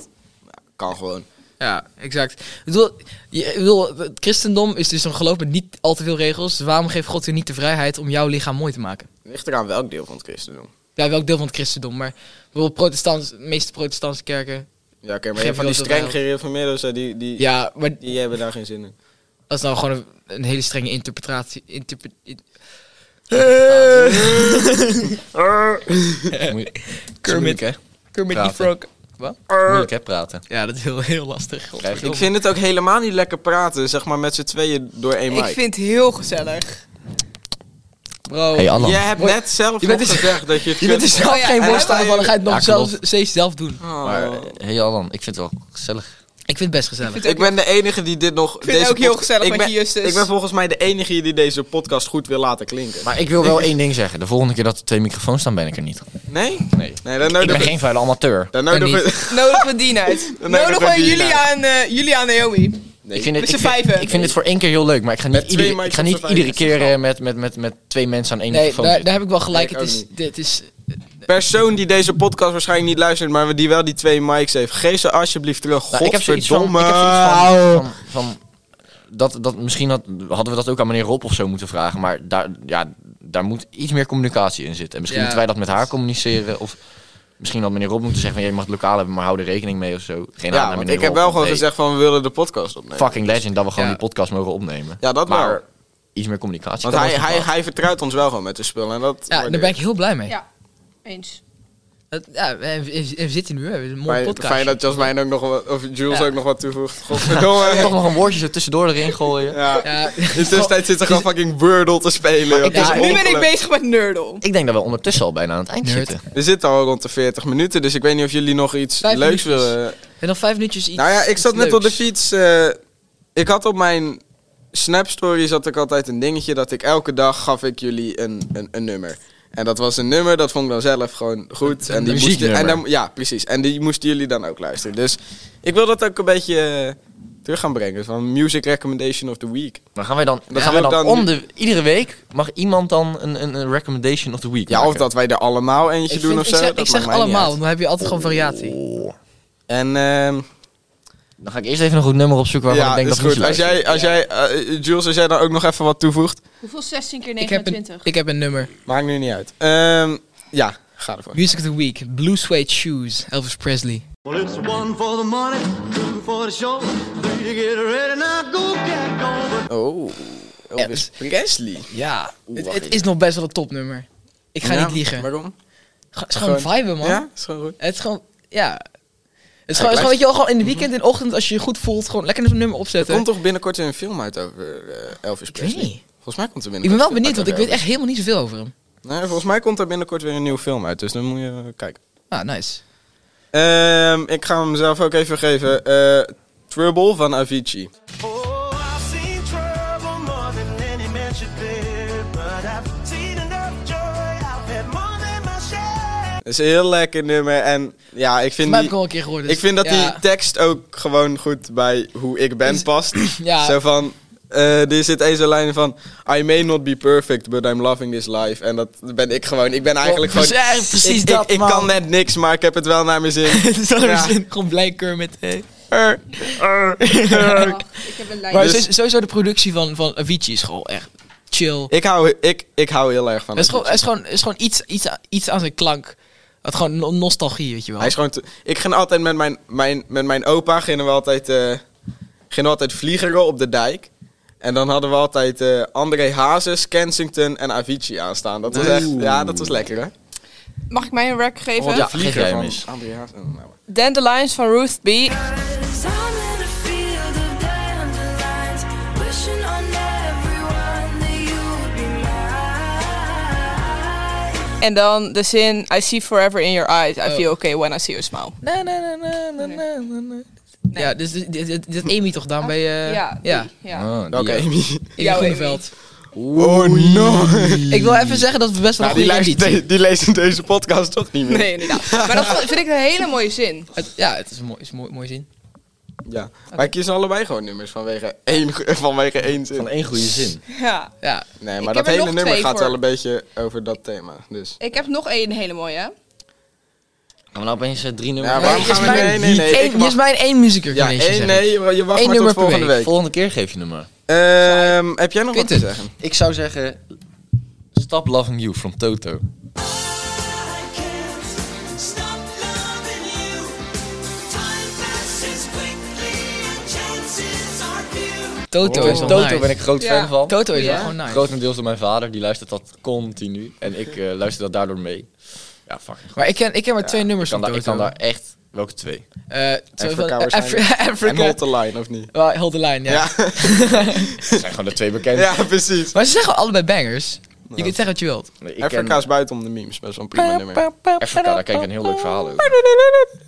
Speaker 2: ja, kan gewoon.
Speaker 3: Ja, exact. Ik bedoel, je, ik bedoel, het christendom is dus een geloof met niet al te veel regels. Dus waarom geeft God je niet de vrijheid om jouw lichaam mooi te maken?
Speaker 2: Ligt eraan welk deel van het christendom.
Speaker 3: Ja, welk deel van het christendom. Maar bijvoorbeeld protestants, de meeste protestantse kerken.
Speaker 2: Ja, oké, maar
Speaker 3: Geef
Speaker 2: je hebt van die
Speaker 3: je wel
Speaker 2: streng
Speaker 3: dat
Speaker 2: gereformeerden, zo, die, die,
Speaker 3: Ja, maar
Speaker 2: die hebben daar geen zin in.
Speaker 3: dat is nou gewoon een, een hele strenge interpretatie. interpre- in-
Speaker 4: Moeilijk,
Speaker 3: Kermit.
Speaker 4: Kermit. hè?
Speaker 3: Kermit
Speaker 4: Praten.
Speaker 3: die Frog. Wat?
Speaker 4: Moeilijk, hè, praten.
Speaker 3: Ja, dat is heel, heel lastig.
Speaker 4: Krijg je
Speaker 2: Ik vind het ook helemaal niet lekker praten, zeg maar met z'n tweeën door één mic.
Speaker 1: Ik vind het heel gezellig.
Speaker 3: Bro.
Speaker 4: Hey, Anna.
Speaker 2: Jij hebt
Speaker 3: Hoi.
Speaker 2: net zelf
Speaker 3: Je bent
Speaker 2: nog
Speaker 3: dus-
Speaker 2: gezegd dat je het
Speaker 3: je bent er
Speaker 2: kut
Speaker 3: zelf
Speaker 1: Oh ja,
Speaker 3: geen
Speaker 1: en
Speaker 2: hij-
Speaker 3: voorstander van. Dan ga je het nog
Speaker 4: Ja,
Speaker 3: zelf,
Speaker 4: klopt.
Speaker 3: steeds zelf doen.
Speaker 2: vond. Oh.
Speaker 4: Maar, eh, hey Alan, ik vind het wel gezellig.
Speaker 3: Ik vind het best gezellig.
Speaker 1: vind het
Speaker 2: ik ben de enige die dit nog...
Speaker 1: vind het ook heel
Speaker 2: podcast-
Speaker 1: gezellig
Speaker 2: ik
Speaker 1: met
Speaker 2: ben,
Speaker 1: je Justus.
Speaker 2: Ik ben volgens mij de enige die deze podcast goed wil laten klinken.
Speaker 4: Maar ik wil wel één ding zeggen. De volgende keer dat er twee microfoons staan, ben ik er niet.
Speaker 2: Eh, Nee?
Speaker 4: Nee.
Speaker 2: Nee, dan
Speaker 4: Ik ben
Speaker 2: nodig
Speaker 4: geen vuile amateur.
Speaker 2: Dan
Speaker 3: En
Speaker 2: nodig
Speaker 3: niet.
Speaker 2: we...
Speaker 1: Nodig we die uit.
Speaker 2: Dan
Speaker 1: Nodig
Speaker 2: nodigen we
Speaker 1: we
Speaker 2: die
Speaker 1: Julia en, eh, Julia en Naomi.
Speaker 2: Nee.
Speaker 4: Ik vind,
Speaker 1: Met
Speaker 4: het, ik,
Speaker 1: z'n
Speaker 4: vind,
Speaker 1: vijven.
Speaker 4: ik vind het voor één keer heel leuk, maar ik ga niet,
Speaker 2: Met twee
Speaker 4: iedere, ik
Speaker 2: meisjes
Speaker 4: ga
Speaker 2: op
Speaker 4: niet
Speaker 2: z'n
Speaker 4: iedere
Speaker 2: vijven
Speaker 4: keer eh, met, met, met, met twee mensen aan één
Speaker 3: Nee,
Speaker 4: microfoon
Speaker 3: daar,
Speaker 4: zitten.
Speaker 3: daar heb ik wel gelijk.
Speaker 2: Ik
Speaker 3: Het is,
Speaker 2: ook
Speaker 3: dit is...
Speaker 2: Persoon die deze podcast waarschijnlijk niet luistert, maar die wel die twee mics heeft. Geef ze alsjeblieft terug.
Speaker 4: Nou, ik heb zoiets van, Nou. ik
Speaker 2: Godverdomme.
Speaker 4: heb zoiets van, van, van dat, dat, misschien had, hadden we dat ook aan meneer Rob of zo moeten vragen, maar daar, ja, daar moet iets meer communicatie in zitten. En misschien
Speaker 3: Ja.
Speaker 4: moeten wij dat met haar communiceren of misschien had meneer Rob moeten zeggen van, ja, je mag het lokaal hebben, maar hou er rekening mee of zo. Geen haat
Speaker 2: Ja,
Speaker 4: naar
Speaker 2: want
Speaker 4: meneer
Speaker 2: ik heb
Speaker 4: Rob,
Speaker 2: wel
Speaker 4: want,
Speaker 2: gewoon
Speaker 4: hey,
Speaker 2: gezegd van we willen de podcast opnemen.
Speaker 4: Fucking legend dat we gewoon
Speaker 3: Ja.
Speaker 4: die podcast mogen opnemen.
Speaker 2: Ja, dat
Speaker 4: maar
Speaker 2: wel.
Speaker 4: iets meer communicatie.
Speaker 2: Want
Speaker 4: kan
Speaker 2: hij,
Speaker 4: wel eens
Speaker 2: hij,
Speaker 4: gepraat.
Speaker 2: hij vertrouwt ons wel gewoon met de spullen. En dat
Speaker 3: Ja, daar
Speaker 2: waardeer
Speaker 3: ben ik heel blij mee.
Speaker 1: Ja, eens.
Speaker 3: Dat- Ja, we, we- we zitten nu, hè. We hebben een mooie
Speaker 2: Fijn,
Speaker 3: podcast.
Speaker 2: fijn dat Jasmijn ook nog wat, of Jules
Speaker 3: Ja.
Speaker 2: ook nog wat toevoegt. Godverdomme.
Speaker 4: Toch nog een woordje zo tussendoor erin gooien.
Speaker 2: ja.
Speaker 3: Ja,
Speaker 2: In de tussentijd zit er gewoon fucking Wordle te spelen. joh.
Speaker 4: ik-
Speaker 2: Het is
Speaker 1: Dus
Speaker 3: ja,
Speaker 1: Nu ben ik
Speaker 2: ongelooflijk.
Speaker 1: bezig met Nerdle.
Speaker 4: Ik denk dat we ondertussen al bijna aan het eind
Speaker 3: Nerd.
Speaker 4: zitten.
Speaker 2: We zitten al rond de 40 minuten, dus ik weet niet of jullie nog iets
Speaker 3: Vijf
Speaker 2: leuks
Speaker 3: minuutjes.
Speaker 2: willen... eh,
Speaker 3: En nog vijf minuutjes iets.
Speaker 2: Nou ja, ik
Speaker 3: iets
Speaker 2: zat net op de
Speaker 3: leuks.
Speaker 2: fiets. eh, ik had op mijn Snap Story zat ik altijd een dingetje dat ik elke dag gaf ik jullie een, een, een nummer. En dat was een nummer, dat vond ik dan zelf gewoon goed. En die moesten, en
Speaker 4: muzieknummer.
Speaker 2: dan, ja, precies. En die moesten jullie dan ook luisteren. Dus ik wil dat ook een beetje eh, terug gaan brengen. Van Music Recommendation of the Week.
Speaker 4: Maar gaan wij dan,
Speaker 2: Dan
Speaker 4: gaan
Speaker 2: gaan
Speaker 4: wij
Speaker 2: we
Speaker 4: dan,
Speaker 2: dan
Speaker 4: om de, iedere week mag iemand dan een, een, een recommendation of the week
Speaker 2: Ja,
Speaker 4: maken.
Speaker 2: of dat wij er allemaal eentje
Speaker 3: Ik,
Speaker 2: doen
Speaker 3: vind-
Speaker 2: of
Speaker 3: ik
Speaker 2: zo.
Speaker 3: zeg,
Speaker 2: dat
Speaker 3: ik
Speaker 2: maakt
Speaker 3: zeg
Speaker 2: mij niet
Speaker 3: allemaal,
Speaker 2: uit.
Speaker 3: want dan heb je altijd gewoon variatie.
Speaker 4: Oh.
Speaker 2: En ehm,
Speaker 4: Dan ga ik eerst even een goed nummer opzoeken waarvan
Speaker 2: ja,
Speaker 4: ik denk
Speaker 2: is
Speaker 4: dat moet
Speaker 2: goed.
Speaker 4: je
Speaker 2: Als jij, als jij, eh, Jules, als jij dan ook nog even wat toevoegt,
Speaker 1: Hoeveel 16 keer
Speaker 3: Ik heb, een, ik heb een nummer.
Speaker 2: maakt nu niet uit. Ehm, ja, ga ervoor.
Speaker 3: Music of the Week. Blue Suede Shoes. Elvis Presley.
Speaker 5: Well, it's one for the money, two for the show, three to get ready now, go get going.
Speaker 2: Oh, Elvis Presley.
Speaker 3: Ja. Het,
Speaker 2: wacht
Speaker 3: het
Speaker 2: even.
Speaker 3: is nog best wel een topnummer. Ik ga
Speaker 2: Ja,
Speaker 3: niet liegen.
Speaker 2: Waarom?
Speaker 3: Ga- Het is gewoon
Speaker 2: Gewoon-
Speaker 3: viben, man.
Speaker 2: Ja, is gewoon goed.
Speaker 3: Het is gewoon... Ja. Het is
Speaker 2: Ja,
Speaker 3: gewoon, het
Speaker 2: luister-
Speaker 3: is gewoon, weet je wel, gewoon in de weekend, in de ochtend, als je je goed voelt, gewoon lekker een nummer
Speaker 2: Er
Speaker 3: opzetten.
Speaker 2: komt toch binnenkort een film uit over eh, Elvis
Speaker 3: Ik weet
Speaker 2: Presley?
Speaker 3: niet.
Speaker 2: Volgens mij komt er binnenkort
Speaker 3: Ik ben wel
Speaker 2: een film
Speaker 3: benieuwd, want ik
Speaker 2: uit
Speaker 3: weet
Speaker 2: over
Speaker 3: echt helemaal niet zoveel over hem.
Speaker 2: Elvis. Nee, volgens mij komt er binnenkort weer een nieuwe film uit, dus dan moet je eh, kijken.
Speaker 3: Ah, nice.
Speaker 2: Ehm, ik ga hem zelf ook even geven. Eh, Trouble van Avicii.
Speaker 6: Oh, I've seen trouble more than any man should bear, but I've seen enough joy. I've had more than my share.
Speaker 2: Dat is een heel lekker nummer en ja, ik vind
Speaker 3: Maar heb ik
Speaker 2: die...
Speaker 3: al een keer gehoord. dus-
Speaker 2: Ik vind dat
Speaker 3: ja.
Speaker 2: die tekst ook gewoon goed bij hoe ik ben
Speaker 3: Is-
Speaker 2: past.
Speaker 3: Ja.
Speaker 2: Zo van, eh, er zit eens een lijn van... I may not be perfect, but I'm loving this life. En dat ben ik gewoon. Ik ben eigenlijk gewoon...
Speaker 3: precies- Oh, dus precies
Speaker 2: ik,
Speaker 3: dat,
Speaker 2: ik, ik
Speaker 3: man.
Speaker 2: kan net niks, maar ik heb het wel naar mijn zin.
Speaker 3: Het is wel
Speaker 2: Ja.
Speaker 3: zin. Gewoon blij Kermit. hè.
Speaker 2: Er.
Speaker 1: ik heb een
Speaker 3: Maar
Speaker 2: Dus-
Speaker 3: sowieso- sowieso de productie van, van Avicii is gewoon echt chill.
Speaker 2: ik, hou, ik, ik hou heel erg van
Speaker 3: Het is
Speaker 2: hem.
Speaker 3: gewoon, het is gewoon, het is gewoon iets, iets, aan- iets aan zijn klank. Het gewoon no- nostalgie, weet je wel.
Speaker 2: Hij is gewoon te- ik ging altijd met mijn, mijn, met mijn opa... Gingen we altijd, eh, gingen we altijd vliegeren op de dijk. En dan hadden we altijd eh, André Hazes, Kensington en Avicii aanstaan. Dat was echt... Ja, dat was lekker, hè?
Speaker 1: Mag ik mij een rec geven?
Speaker 2: Oh,
Speaker 4: Ja,
Speaker 2: de vlieger
Speaker 4: geef jij hem
Speaker 2: van
Speaker 4: eens.
Speaker 2: André Hazes. Oh, nou.
Speaker 1: Dandelions van Ruth B.
Speaker 7: Cause I'm in a field of dandelions, wishing on everyone that you would be mine.
Speaker 1: En dan de zin, I see forever in your eyes. I
Speaker 3: Oh.
Speaker 1: feel okay when I see you smile.
Speaker 3: Na, na, na, na, na, na, na, na. Ja, dus dit, dit, dit- dit Amy toch dan bij... eh
Speaker 1: ja, die, ja.
Speaker 4: Ah,
Speaker 2: Welke
Speaker 4: die, eh,
Speaker 2: Amy?
Speaker 3: Amy
Speaker 1: Jouw
Speaker 3: Groeneveld.
Speaker 2: Oh no!
Speaker 3: Ik wil even zeggen dat we best wel
Speaker 2: Nou,
Speaker 3: een
Speaker 2: die,
Speaker 3: goede
Speaker 2: leest,
Speaker 3: editie-
Speaker 2: die leest in deze podcast toch niet meer?
Speaker 1: Nee, inderdaad. maar dat vind ik een hele mooie zin.
Speaker 3: Het- Ja, het is een mooi, is een mooi, mooi zin.
Speaker 2: Ja. Wij kiezen allebei gewoon nummers vanwege één, vanwege één zin.
Speaker 4: Van één goede zin.
Speaker 1: Ja.
Speaker 3: Ja.
Speaker 2: Nee,
Speaker 1: Ik
Speaker 2: maar
Speaker 1: heb
Speaker 2: dat
Speaker 1: er
Speaker 2: hele
Speaker 1: nog
Speaker 2: nummer
Speaker 1: twee
Speaker 2: gaat
Speaker 1: voor.
Speaker 2: wel een beetje over dat thema. Dus.
Speaker 1: Ik heb nog één hele mooie, hè?
Speaker 4: Gaan we nou opeens eh, drie nummers?
Speaker 2: Ja, waarom
Speaker 3: hier is
Speaker 2: gaan we... Nee,
Speaker 3: mijn-
Speaker 2: nee, nee.
Speaker 3: Eén-
Speaker 2: ik
Speaker 3: hier
Speaker 2: mag-
Speaker 3: is mijn één muzieker.
Speaker 2: Ja, één, nee, je wacht
Speaker 3: Eén
Speaker 2: maar tot
Speaker 3: nummer per
Speaker 2: volgende
Speaker 3: week.
Speaker 2: week.
Speaker 4: Volgende keer geef je nummer.
Speaker 2: Ehm, heb jij nog
Speaker 3: Quinten.
Speaker 2: wat te zeggen?
Speaker 4: Ik zou zeggen... Stop Loving You van Toto.
Speaker 3: Toto
Speaker 4: Oh,
Speaker 3: is wel
Speaker 4: Toto
Speaker 3: nice.
Speaker 4: ben ik groot
Speaker 1: Ja.
Speaker 4: fan van.
Speaker 3: Toto is
Speaker 1: Ja.
Speaker 3: wel gewoon
Speaker 2: Ah,
Speaker 3: nice.
Speaker 4: Grotendeels door mijn vader, die luistert dat continu. En ik eh, luister dat daardoor mee. Ja, fuck. Ik
Speaker 3: Maar ik ken, ik ken maar twee nummers
Speaker 4: kan,
Speaker 3: van
Speaker 4: daar,
Speaker 3: Toto.
Speaker 4: ik kan daar echt... Welke twee?
Speaker 3: Eh, twee van-
Speaker 2: Africa
Speaker 3: eh, Afri-
Speaker 2: waarschijnlijk. En
Speaker 3: Africa.
Speaker 2: hold the line, of niet?
Speaker 3: Well, Hold the Line, ja.
Speaker 2: Ja,
Speaker 4: Dat zijn gewoon de twee bekende.
Speaker 2: ja precies.
Speaker 3: Maar ze zeggen allebei bangers. Je kunt zeggen wat je wilt.
Speaker 4: Nee, ik ken
Speaker 2: Afrika is buiten om de memes, best wel een prima nummer.
Speaker 4: Afrika, daar kijk ik een heel leuk verhaal over.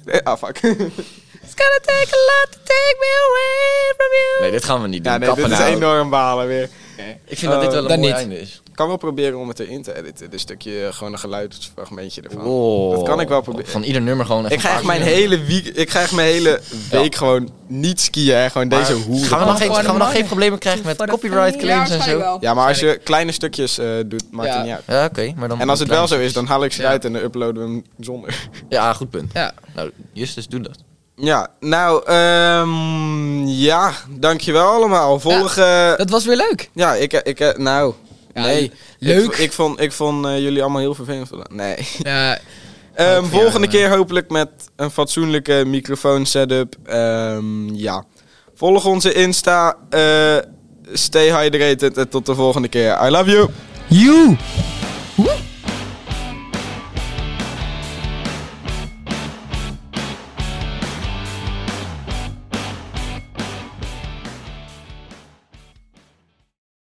Speaker 2: Eh, Ah, fuck.
Speaker 3: It's gonna take a lot to take me away from you.
Speaker 4: Nee, dit gaan we niet doen.
Speaker 2: Ja, nee,
Speaker 4: Kappen
Speaker 2: dit is
Speaker 4: nou.
Speaker 2: enorm Eh, balen weer.
Speaker 4: Ik vind dat dit wel een
Speaker 3: Dan
Speaker 4: mooi
Speaker 3: niet.
Speaker 4: einde is.
Speaker 2: Ik kan wel proberen om het erin te editen. Dit stukje, eh, gewoon een geluidsfragmentje ervan.
Speaker 4: Wow.
Speaker 2: Oh. Dat kan ik wel proberen.
Speaker 4: Van ieder nummer gewoon even
Speaker 2: Ik ga echt
Speaker 4: een paar
Speaker 2: mijn
Speaker 4: keer.
Speaker 2: hele week, ik ga echt mijn hele week gewoon niet skiën, hè. Gewoon deze
Speaker 4: Maar
Speaker 2: hoeren.
Speaker 4: Gaan we nog geen,
Speaker 3: Gewoon
Speaker 4: gaan we nog
Speaker 3: een
Speaker 4: geen problemen krijgen met copyright
Speaker 1: Ja,
Speaker 4: claims en
Speaker 1: waarschijnlijk
Speaker 4: zo?
Speaker 1: wel.
Speaker 2: Ja, maar als je kleine stukjes eh, doet, maakt
Speaker 3: Ja.
Speaker 2: het niet uit.
Speaker 4: Ja, oké. maar dan
Speaker 2: En als het wel zo is, dan haal ik ze
Speaker 3: Ja.
Speaker 2: uit en dan uploaden we hem zonder.
Speaker 4: Ja, goed punt.
Speaker 3: Ja.
Speaker 4: Nou, Justus, doe dat.
Speaker 2: Ja, nou, ehm ja, dankjewel allemaal. Vorige, ja,
Speaker 3: Dat was weer leuk.
Speaker 2: ik, ik, eh, nou,
Speaker 3: Ja,
Speaker 2: nee.
Speaker 3: leuk.
Speaker 2: Ik, ik vond, ik vond eh, jullie allemaal heel vervelend vandaag. Nee.
Speaker 3: Ja,
Speaker 2: Ehm,
Speaker 3: voor jou,
Speaker 2: volgende
Speaker 3: eh.
Speaker 2: keer hopelijk met een fatsoenlijke microfoon setup. Ehm, ja. Volg onze Insta. eh, stay hydrated en tot de volgende keer. I love you.
Speaker 3: you.